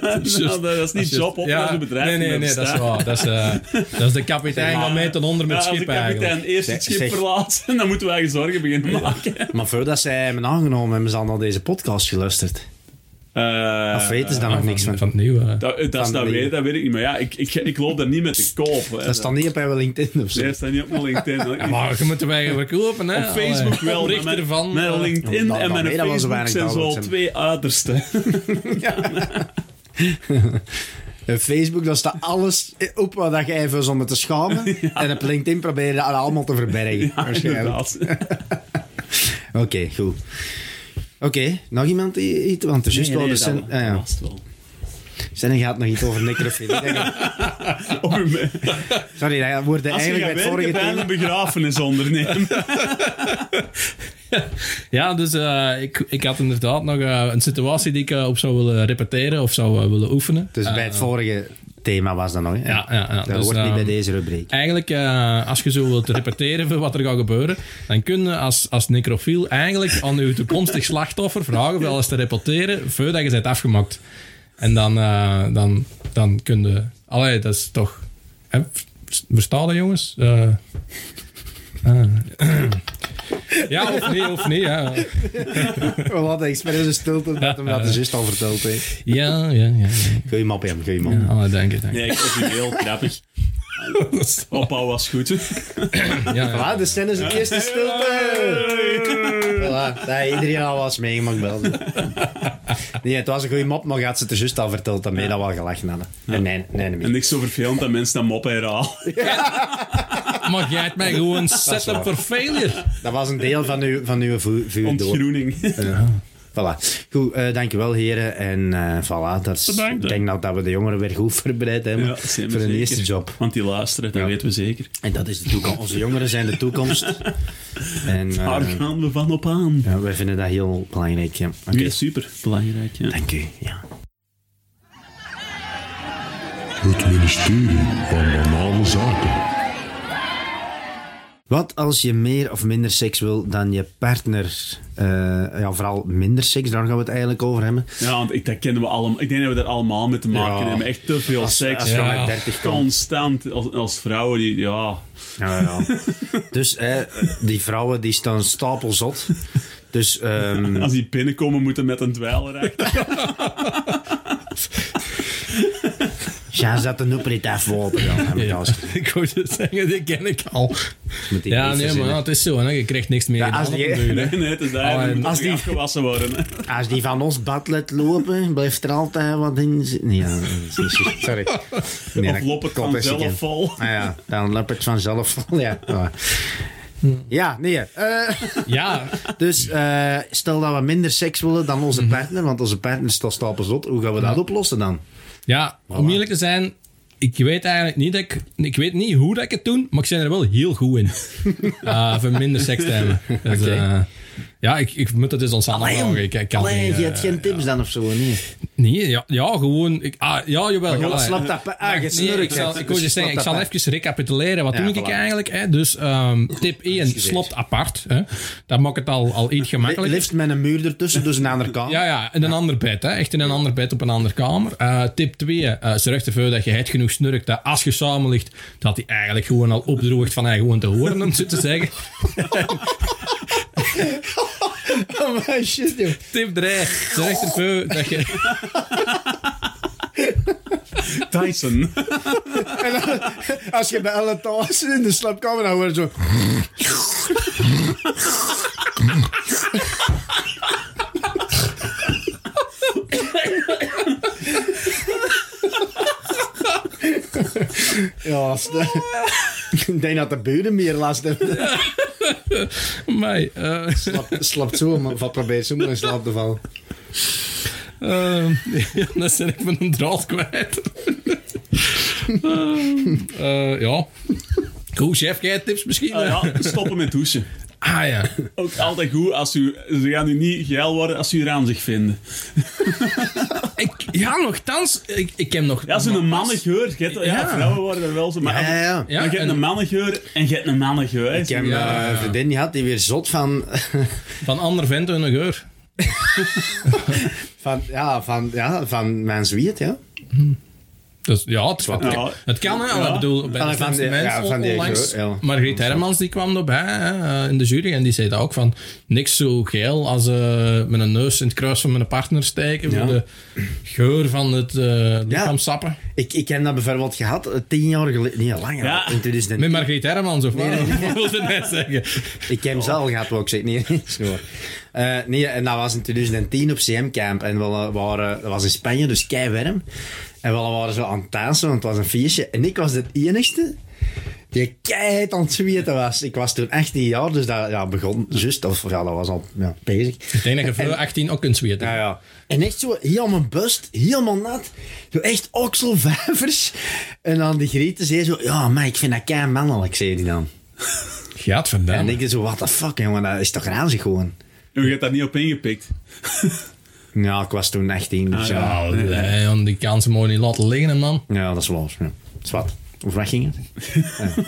[SPEAKER 2] Nou, dat is niet job op
[SPEAKER 3] Ja,
[SPEAKER 2] als een bedrijf.
[SPEAKER 3] Nee, nee,
[SPEAKER 2] niet
[SPEAKER 3] nee,
[SPEAKER 2] meer
[SPEAKER 3] dat is
[SPEAKER 2] bestaat.
[SPEAKER 3] waar. Dat is, eh, dat is de kapitein van mee ten onder met
[SPEAKER 2] Ja,
[SPEAKER 3] het
[SPEAKER 2] als de
[SPEAKER 3] schip
[SPEAKER 2] kapitein
[SPEAKER 3] eigenlijk.
[SPEAKER 2] eerst het
[SPEAKER 1] Zeg-
[SPEAKER 2] schip
[SPEAKER 1] zeg-
[SPEAKER 2] verlaat, dan moeten wij eigen zorgen beginnen maken.
[SPEAKER 1] Maar voordat zij hebben aangenomen, hebben ze al naar deze podcast geluisterd.
[SPEAKER 2] Eh,
[SPEAKER 1] Of weten ze daar nog
[SPEAKER 3] Van-
[SPEAKER 1] niks van?
[SPEAKER 3] Van het nieuwe.
[SPEAKER 2] dat, dat, is-
[SPEAKER 1] Van
[SPEAKER 2] dat,
[SPEAKER 1] de-
[SPEAKER 2] weet, dat weet ik niet. Maar ja, ik, ik, ik loop daar niet met de koop. hè.
[SPEAKER 1] Dat staat niet op mijn LinkedIn of zo.
[SPEAKER 2] Nee, dat staat niet op mijn LinkedIn.
[SPEAKER 3] Maar je moet wij verkopen, hè?
[SPEAKER 2] Op Facebook
[SPEAKER 3] Allee,
[SPEAKER 2] wel. maar
[SPEAKER 3] Oh, oprichter
[SPEAKER 2] Mijn,
[SPEAKER 3] van.
[SPEAKER 2] mijn
[SPEAKER 3] eh,
[SPEAKER 2] LinkedIn
[SPEAKER 1] dan-
[SPEAKER 2] en
[SPEAKER 1] dan
[SPEAKER 2] mijn
[SPEAKER 1] weet je wel zo weinig
[SPEAKER 2] Facebook zijn zo
[SPEAKER 1] downloads hebben.
[SPEAKER 2] twee uitersten.
[SPEAKER 1] Op Eh, Facebook, daar staat alles op wat je even is om het te schamen. En op LinkedIn probeer je dat allemaal te verbergen. waarschijnlijk.
[SPEAKER 2] Inderdaad.
[SPEAKER 1] Oké, goed. Oké, nog iemand die iets... Want er is juist
[SPEAKER 2] Nee,
[SPEAKER 1] wel
[SPEAKER 2] nee,
[SPEAKER 1] de Sen-
[SPEAKER 2] dat
[SPEAKER 1] ah, ja.
[SPEAKER 2] past wel.
[SPEAKER 1] Sen gaat nog iets over necrofilie.
[SPEAKER 2] Op een-
[SPEAKER 1] Sorry, dat hoorde
[SPEAKER 2] Als je
[SPEAKER 1] eigenlijk
[SPEAKER 2] gaat
[SPEAKER 1] bij het vorige
[SPEAKER 2] werken bij
[SPEAKER 1] thema.
[SPEAKER 2] een begrafenis ondernemen.
[SPEAKER 3] Ja, dus eh, ik, ik had inderdaad nog eh, een situatie die ik eh, op zou willen repeteren of zou eh, willen oefenen.
[SPEAKER 1] Dus bij het vorige thema was dat nog. hè?
[SPEAKER 3] Ja, ja, ja.
[SPEAKER 1] Dat
[SPEAKER 3] Dus,
[SPEAKER 1] hoort niet
[SPEAKER 3] ehm,
[SPEAKER 1] bij deze rubriek.
[SPEAKER 3] Eigenlijk, eh, als je zo wilt repeteren voor wat er gaat gebeuren, dan kun je als, als necrofiel eigenlijk aan je toekomstig slachtoffer vragen wel eens te repeteren voordat je bent afgemaakt. En dan, eh, dan, dan kun je... Allee, dat is toch... Hè, verstaan dat, jongens? Eh, ah. ja, of nee, of nee. Ja,
[SPEAKER 1] We hadden expres een stilte, omdat hem dat de zus al verteld heeft.
[SPEAKER 3] ja, ja. ja, ja.
[SPEAKER 1] Goeie mop, Jem, goeie mop.
[SPEAKER 3] Allee, dank je, dank je.
[SPEAKER 2] Nee, ik vond die heel grappig. Opa was goed.
[SPEAKER 3] Ja, ja.
[SPEAKER 1] Voilà, de Sen is het eerste stilte. Voilà, dat heeft iedereen al was meegemaakt wel. Nee, het was een goede mop, maar gaat ze het er juist al verteld. Dan ben je dat wel gelachen hadden. En Nee, nee, nee.
[SPEAKER 2] En niks zo vervelend dat mensen dat moppen herhalen.
[SPEAKER 3] Mag jij het mij gewoon set up
[SPEAKER 1] waar.
[SPEAKER 3] for failure?
[SPEAKER 1] Dat was een deel van uw, van uw vu- vuur door.
[SPEAKER 2] Ontgroening.
[SPEAKER 1] Voilà. Goed, eh, dankjewel heren. En eh voilà, dat is,
[SPEAKER 2] Bedankt, hè.
[SPEAKER 1] ik denk nou dat we de jongeren weer goed voorbereid hebben
[SPEAKER 2] Ja, zeker,
[SPEAKER 1] voor hun
[SPEAKER 2] zeker.
[SPEAKER 1] eerste job.
[SPEAKER 2] Want die luisteren, dat weten we zeker.
[SPEAKER 1] En dat is de toekomst. Onze jongeren zijn de toekomst. En eh,
[SPEAKER 2] Daar gaan we van op aan.
[SPEAKER 1] ja, wij vinden dat heel belangrijk. Ja. Oké,
[SPEAKER 2] Ja, super. Belangrijk, ja.
[SPEAKER 1] dank u. Ja.
[SPEAKER 4] We Het ministerie van Banale Zaken.
[SPEAKER 1] Wat als je meer of minder seks wil dan je partner? eh, ja, vooral minder seks, daar gaan we het eigenlijk over hebben.
[SPEAKER 2] Ja, want ik, dat kennen we allemaal. Ik denk dat we daar allemaal mee te maken
[SPEAKER 1] Ja.
[SPEAKER 2] hebben. Echt te veel seks.
[SPEAKER 1] Als je
[SPEAKER 3] Ja.
[SPEAKER 1] met 30 komt.
[SPEAKER 2] Constant. Als, als vrouwen die... Ja.
[SPEAKER 1] Ja, ja. dus eh, die vrouwen die staan stapelzot. Dus ehm,
[SPEAKER 2] Als die binnenkomen moeten met een dweiler achter.
[SPEAKER 1] ja, zet de noeper niet even open. Ja, Amerikaans.
[SPEAKER 3] ik wou het zeggen, die ken ik al.
[SPEAKER 1] Moet
[SPEAKER 3] Ja, nee,
[SPEAKER 1] ik niet
[SPEAKER 3] maar
[SPEAKER 1] verzinnen.
[SPEAKER 3] ja, het is zo, hè. je krijgt niks meer
[SPEAKER 1] Ja,
[SPEAKER 3] gedaan
[SPEAKER 1] als
[SPEAKER 3] op
[SPEAKER 1] die-
[SPEAKER 3] den duur, hè.
[SPEAKER 2] Nee, nee, het is daar.
[SPEAKER 3] Oh, en
[SPEAKER 2] die moeten
[SPEAKER 1] als
[SPEAKER 2] nog
[SPEAKER 1] die-
[SPEAKER 2] afgewassen worden. hè.
[SPEAKER 1] Als die van ons bad laat lopen, blijft er altijd wat in zitten. Nee, Ja, sorry. Nee,
[SPEAKER 2] Of
[SPEAKER 1] dat
[SPEAKER 2] loopt het
[SPEAKER 1] klopt, dat is ik in.
[SPEAKER 2] vanzelf vol.
[SPEAKER 1] Ah ja, dan loopt het vanzelf vol, ja. Ja, Ja, nee. eh,
[SPEAKER 3] Ja,
[SPEAKER 1] dus eh, stel dat we minder seks willen dan onze
[SPEAKER 3] Mhm.
[SPEAKER 1] partner, want onze partner staat stapelzot. Hoe gaan we dat oplossen dan?
[SPEAKER 3] ja om eerlijk te zijn, ik weet eigenlijk niet, dat ik, ik weet niet hoe dat ik het doe, maar ik ben er wel heel goed in. Eh voor minder seks te hebben. Dus,
[SPEAKER 1] Oké.
[SPEAKER 3] eh, ja, ik, ik moet het eens ons aan vragen. Oh, Ik, ik kan
[SPEAKER 1] Allee,
[SPEAKER 3] niet,
[SPEAKER 1] je
[SPEAKER 3] eh,
[SPEAKER 1] hebt geen tips dan of zo, nee.
[SPEAKER 3] Nee, ja, ja gewoon... Ik, ah, ja, jawel.
[SPEAKER 1] Maar je
[SPEAKER 3] allee.
[SPEAKER 1] slaat dat pa- ah, je
[SPEAKER 3] Nee,
[SPEAKER 1] snurkt
[SPEAKER 3] ik zal,
[SPEAKER 1] het.
[SPEAKER 3] ik,
[SPEAKER 1] Dus
[SPEAKER 3] wou
[SPEAKER 1] je
[SPEAKER 3] je zeggen, ik
[SPEAKER 1] slaat
[SPEAKER 3] zal
[SPEAKER 1] dat
[SPEAKER 3] even recapituleren. Wat
[SPEAKER 1] Ja,
[SPEAKER 3] doe ik
[SPEAKER 1] voilà.
[SPEAKER 3] eigenlijk? Hè? Dus ehm, tip 1, slot apart. Hè? Dat maakt het al, al iets
[SPEAKER 1] Li-
[SPEAKER 3] gemakkelijker.
[SPEAKER 1] Liefst met een muur ertussen, dus een andere kant.
[SPEAKER 3] Ja, ja, in een ander bed. Hè. Echt in een ander bed op een andere kamer. Eh, tip 2. eh zorg ervoor dat je het genoeg snurkt. Dat als je samen ligt, dat hij eigenlijk gewoon al opdroogt van hij gewoon te horen, om het zo te zeggen.
[SPEAKER 1] Oh, maar shit, joh.
[SPEAKER 3] Tip 3. Zorg ervoor dat je...
[SPEAKER 2] Tyson.
[SPEAKER 1] En dan- als je bij alle thuis in de slaapkamer, dan hoor je zo... Ja, als de- ik denk dat de buren meer last hebben.
[SPEAKER 3] Mij. eh,
[SPEAKER 1] Slaapt slaapt zo, maar wat probeert zo maar in slaap te vallen.
[SPEAKER 3] Ehm, ja, dan ben ik mijn draad kwijt. Ehm, eh, ja. Goed, chef, jij hebt tips misschien?
[SPEAKER 2] Ah, ja, stoppen met douchen.
[SPEAKER 3] Ah, ja.
[SPEAKER 2] Ook altijd goed als u... Ze gaan u niet geil worden als u eraan zich vinden.
[SPEAKER 3] Ik, ja, nogthans, ik, ik heb nog...
[SPEAKER 2] Ja, als u een mannengeur... je hebt- Ja,
[SPEAKER 3] Ja.
[SPEAKER 2] vrouwen worden er wel zo... Maar,
[SPEAKER 1] Ja, ja,
[SPEAKER 3] Ja,
[SPEAKER 2] maar je hebt
[SPEAKER 3] en-
[SPEAKER 2] een mannengeur en je hebt een mannengeur. hè.
[SPEAKER 1] Ik heb
[SPEAKER 3] Ja.
[SPEAKER 1] eh, een vriendin gehad die weer zot van...
[SPEAKER 3] Van ander vent een geur.
[SPEAKER 1] van, ja, van, ja, van mijn zwiet, ja.
[SPEAKER 3] Dus, ja, het, het,
[SPEAKER 2] Ja.
[SPEAKER 3] het kan, hè.
[SPEAKER 2] Ja.
[SPEAKER 3] Ik bedoel, bij
[SPEAKER 1] Van
[SPEAKER 3] de
[SPEAKER 1] die-
[SPEAKER 3] slimste
[SPEAKER 1] ja,
[SPEAKER 3] mensen
[SPEAKER 1] van die
[SPEAKER 3] onlangs.
[SPEAKER 1] geur, ja.
[SPEAKER 3] Margriet Hermans, die kwam erbij hè, eh, in de jury. En die zei dat ook van... Niks zo geil als eh met een neus in het kruis van mijn partner steken. Voor de geur van het eh lichaamsappen.
[SPEAKER 1] Ik, ik heb dat bijvoorbeeld gehad eh, tien jaar geleden, niet langer,
[SPEAKER 2] Ja.
[SPEAKER 1] in 2010.
[SPEAKER 3] Met Margriet Hermans, of wat? Wat wilde hij zeggen?
[SPEAKER 1] Ik heb hem zelf gehad, wou ik zeggen. Nee, nee, is niet waar. Eh, nee, en dat was in 2010 op CM-camp. En we waren, dat was in Spanje, dus keiwerm. En we waren zo aan het dansen, want het was een feestje. En ik was de enigste die keihard aan het zweten was. Ik was toen 18 jaar, dus dat ja, begon juist. Of ja, dat was al ja, bezig.
[SPEAKER 3] Ik denk dat je voor 18 ook kunt zweten.
[SPEAKER 1] Ja, ja. En echt zo, heel mijn bust, helemaal nat. Zo echt okselvijvers. En dan die Grieten zei zo, ja, maar ik vind dat kei mannelijk, zei die dan.
[SPEAKER 3] Gaat vandaan.
[SPEAKER 1] En ik dacht zo, what the fuck, jongen, dat is toch ranzig gewoon.
[SPEAKER 2] Je hebt daar niet op ingepikt.
[SPEAKER 1] Ja, ik was toen 18, dus ja.
[SPEAKER 2] Ja, nee.
[SPEAKER 3] Nee, want die kan ze mooi niet laten liggen, hè, man.
[SPEAKER 1] Ja, dat is los. Ja. Zwat. Of waar ging het?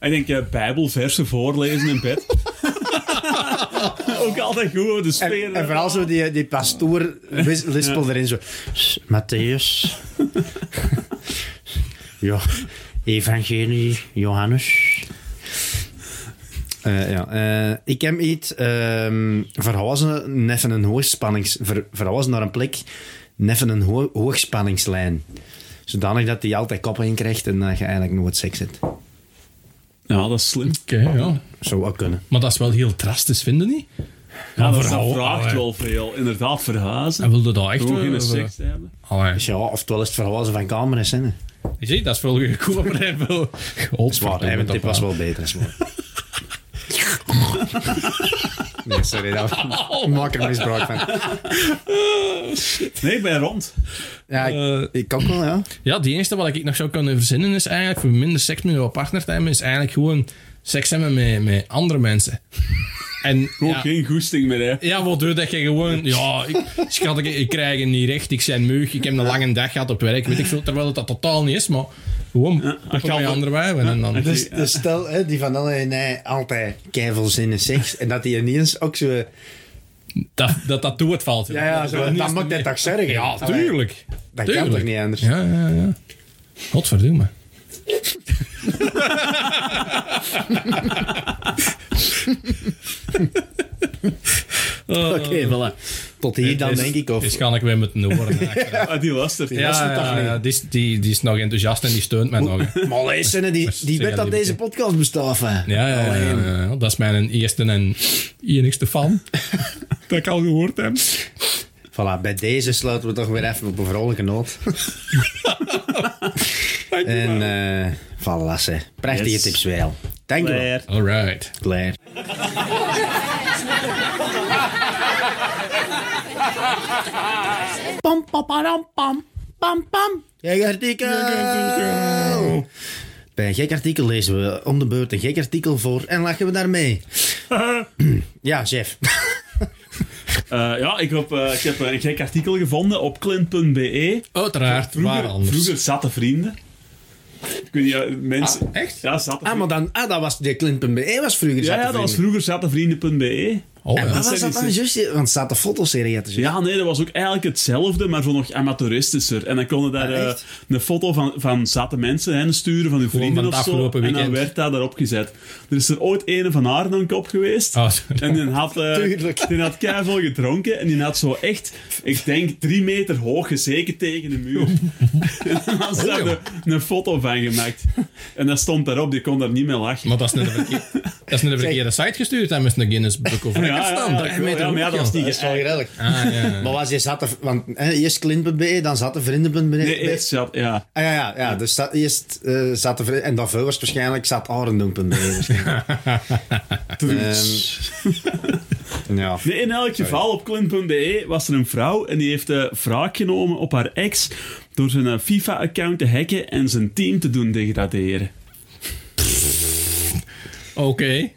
[SPEAKER 2] Ik denk, eh, bijbelversen voorlezen in bed. Ook altijd goed, hoor, de
[SPEAKER 1] En,
[SPEAKER 2] sfeer.
[SPEAKER 1] en vooral zo die, die pastoor wis- lispel erin zo. "S- Matthäus. ja. Evangelie, Johannes. Eh, ja, eh, ik heb iets ehm verhuizen, neffen een hoogspannings... Ver, verhuizen naar een plek, neffen een ho- hoogspanningslijn. Zodanig dat die altijd kop in krijgt en dat je eigenlijk nooit seks hebt.
[SPEAKER 2] Ja, dat is slim.
[SPEAKER 3] Oké, ja.
[SPEAKER 1] Zou ook kunnen.
[SPEAKER 3] Maar dat is wel heel drastisch, vinden niet?
[SPEAKER 2] Ja, dat,
[SPEAKER 3] verhaal-
[SPEAKER 2] vraagt
[SPEAKER 3] Allee.
[SPEAKER 2] wel veel. Inderdaad, verhazen.
[SPEAKER 3] En wilde dat echt eh,
[SPEAKER 2] Gewoon
[SPEAKER 3] wel?
[SPEAKER 2] geen
[SPEAKER 3] of,
[SPEAKER 2] seks te hebben.
[SPEAKER 3] Allee.
[SPEAKER 1] Dus ja, oftewel is het verhuizen van camera's. Hè.
[SPEAKER 3] Je ziet, dat is wel een goede voorbeeld.
[SPEAKER 1] Zwaar,
[SPEAKER 3] Godverdomme,
[SPEAKER 1] hè, mijn
[SPEAKER 3] dat
[SPEAKER 1] tip was wel beter. Is waar. nee, sorry. Dat
[SPEAKER 3] Oh.
[SPEAKER 1] maak er misbruik van.
[SPEAKER 2] Nee, ik ben rond.
[SPEAKER 1] Ja, ik,
[SPEAKER 3] Eh.
[SPEAKER 1] ik ook wel, ja.
[SPEAKER 3] Ja, het enige wat ik nog zou kunnen verzinnen is eigenlijk voor minder seks met jouw partner te hebben, is eigenlijk gewoon seks hebben met, met andere mensen. En,
[SPEAKER 2] Gewoon
[SPEAKER 3] ja,
[SPEAKER 2] geen goesting meer, hè.
[SPEAKER 3] ja, waardoor dat je gewoon... Ja, ik, schat, ik, ik krijg hem niet recht. Ik zijn mug. Ik heb een lange dag gehad op werk. Weet ik veel. Terwijl het dat totaal niet is, maar... Gewoon poppen
[SPEAKER 2] ik ga
[SPEAKER 3] met
[SPEAKER 2] wel-
[SPEAKER 3] andere wijven. En dan...
[SPEAKER 1] Dus, dus stel, hè, die van Allen, nee, altijd keivel zin in seks. En dat die ineens ook zo...
[SPEAKER 3] dat, dat dat toe het valt.
[SPEAKER 1] Ja, ja, zo,
[SPEAKER 3] is
[SPEAKER 1] dan
[SPEAKER 3] het
[SPEAKER 1] mag dat
[SPEAKER 3] niet.
[SPEAKER 1] toch zeggen?
[SPEAKER 3] Ja,
[SPEAKER 1] Allee,
[SPEAKER 3] tuurlijk.
[SPEAKER 1] Dat
[SPEAKER 3] tuurlijk.
[SPEAKER 1] kan toch niet anders?
[SPEAKER 3] Ja, ja, ja. Godverdomme.
[SPEAKER 1] Oké,
[SPEAKER 3] Eh,
[SPEAKER 1] voilà. Tot hier dan,
[SPEAKER 3] Is-
[SPEAKER 1] denk ik. Of,
[SPEAKER 3] Is kan ik weer met een oren ja,
[SPEAKER 2] Ah, die lastert.
[SPEAKER 3] ja, ja, ja, die, is, die, die is nog enthousiast en die steunt mij nog. hè.
[SPEAKER 1] maar lezen, die, die
[SPEAKER 3] Zeg
[SPEAKER 1] weet dat
[SPEAKER 3] dat
[SPEAKER 1] deze podcast bestaat. hè.
[SPEAKER 3] Ja, ja, ja,
[SPEAKER 1] Alleen.
[SPEAKER 3] ja, ja. dat is mijn eerste en enigste fan. dat ik al gehoord heb.
[SPEAKER 1] Voilà, bij deze sluiten we toch weer even op een vrolijke noot. en eh voilà, ze. Prachtige
[SPEAKER 2] Yes.
[SPEAKER 1] tips wel. Dankjewel,
[SPEAKER 2] Claire.
[SPEAKER 3] Alright.
[SPEAKER 1] Claire. pam, pam, pam, pam, pam, pam. Gek artikel! Bij een gek artikel lezen we om de beurt een gek artikel voor en lachen we daarmee. ja, chef.
[SPEAKER 2] Eh, ja, ik heb, eh, ik heb een gek artikel gevonden op clint.be.
[SPEAKER 3] Uiteraard, waar
[SPEAKER 2] E. Vroeger,
[SPEAKER 3] anders.
[SPEAKER 2] vroeger zatte vrienden. Ik weet niet, ja, mensen...
[SPEAKER 3] Ah, echt?
[SPEAKER 2] Ja, zatte
[SPEAKER 1] Ah, maar
[SPEAKER 2] vrienden.
[SPEAKER 1] dan, ah, dat was de Clint.be, was vroeger.
[SPEAKER 2] Ja,
[SPEAKER 1] zaten
[SPEAKER 2] ja, dat was
[SPEAKER 1] vrienden.
[SPEAKER 2] vroeger zattevrienden.be.
[SPEAKER 3] Oh,
[SPEAKER 1] En
[SPEAKER 3] ja.
[SPEAKER 1] wat Ah, was dat dan juist? Want staat de fotoserie uit.
[SPEAKER 2] Ja, nee, dat was ook eigenlijk hetzelfde, maar voor nog amateuristischer. En dan konden daar
[SPEAKER 1] Ah,
[SPEAKER 2] eh,
[SPEAKER 1] echt?
[SPEAKER 2] een foto van, van zatte mensen hè, sturen, van hun vrienden
[SPEAKER 3] van
[SPEAKER 2] of
[SPEAKER 3] het
[SPEAKER 2] zo.
[SPEAKER 3] afgelopen
[SPEAKER 2] En dan
[SPEAKER 3] weekend.
[SPEAKER 2] werd dat erop gezet. Er is er ooit een van haar een kop geweest.
[SPEAKER 3] Ah, sorry.
[SPEAKER 2] en die had, eh,
[SPEAKER 1] Tuurlijk.
[SPEAKER 2] die had keiveel gedronken en die had zo echt, ik denk, drie meter hoog gezeken tegen de muur. en dan had
[SPEAKER 3] Oh,
[SPEAKER 2] ze daar een, een foto van gemaakt. En dat stond daarop, die kon daar niet meer lachen.
[SPEAKER 3] Maar dat is naar de, verkeer- dat is naar de verkeerde site gestuurd, hè, met een Guinness Book of Records.
[SPEAKER 2] ja, ja,
[SPEAKER 3] dan.
[SPEAKER 2] ja,
[SPEAKER 3] Drie
[SPEAKER 2] ik-
[SPEAKER 3] meter
[SPEAKER 2] ja, maar ja,
[SPEAKER 3] hoog,
[SPEAKER 2] dat was
[SPEAKER 3] joh.
[SPEAKER 2] niet
[SPEAKER 1] Dat is wel
[SPEAKER 2] geëikt.
[SPEAKER 1] redelijk.
[SPEAKER 3] Ah, ja.
[SPEAKER 1] eh, Maar was je zat er, want hè, eerst Clint.be, dan zat de vrienden.be.
[SPEAKER 2] Nee, eerst zat, ja.
[SPEAKER 1] Ah, ja, ja, ja. Dus dat, eerst eh zat de vrienden. En daarvoor was het waarschijnlijk zat Arendoen.be. ja.
[SPEAKER 2] Nee, in elk geval, op clint.be was er een vrouw en die heeft eh wraak genomen op haar ex door zijn eh, FIFA-account te hacken en zijn team te doen degraderen.
[SPEAKER 3] Oké.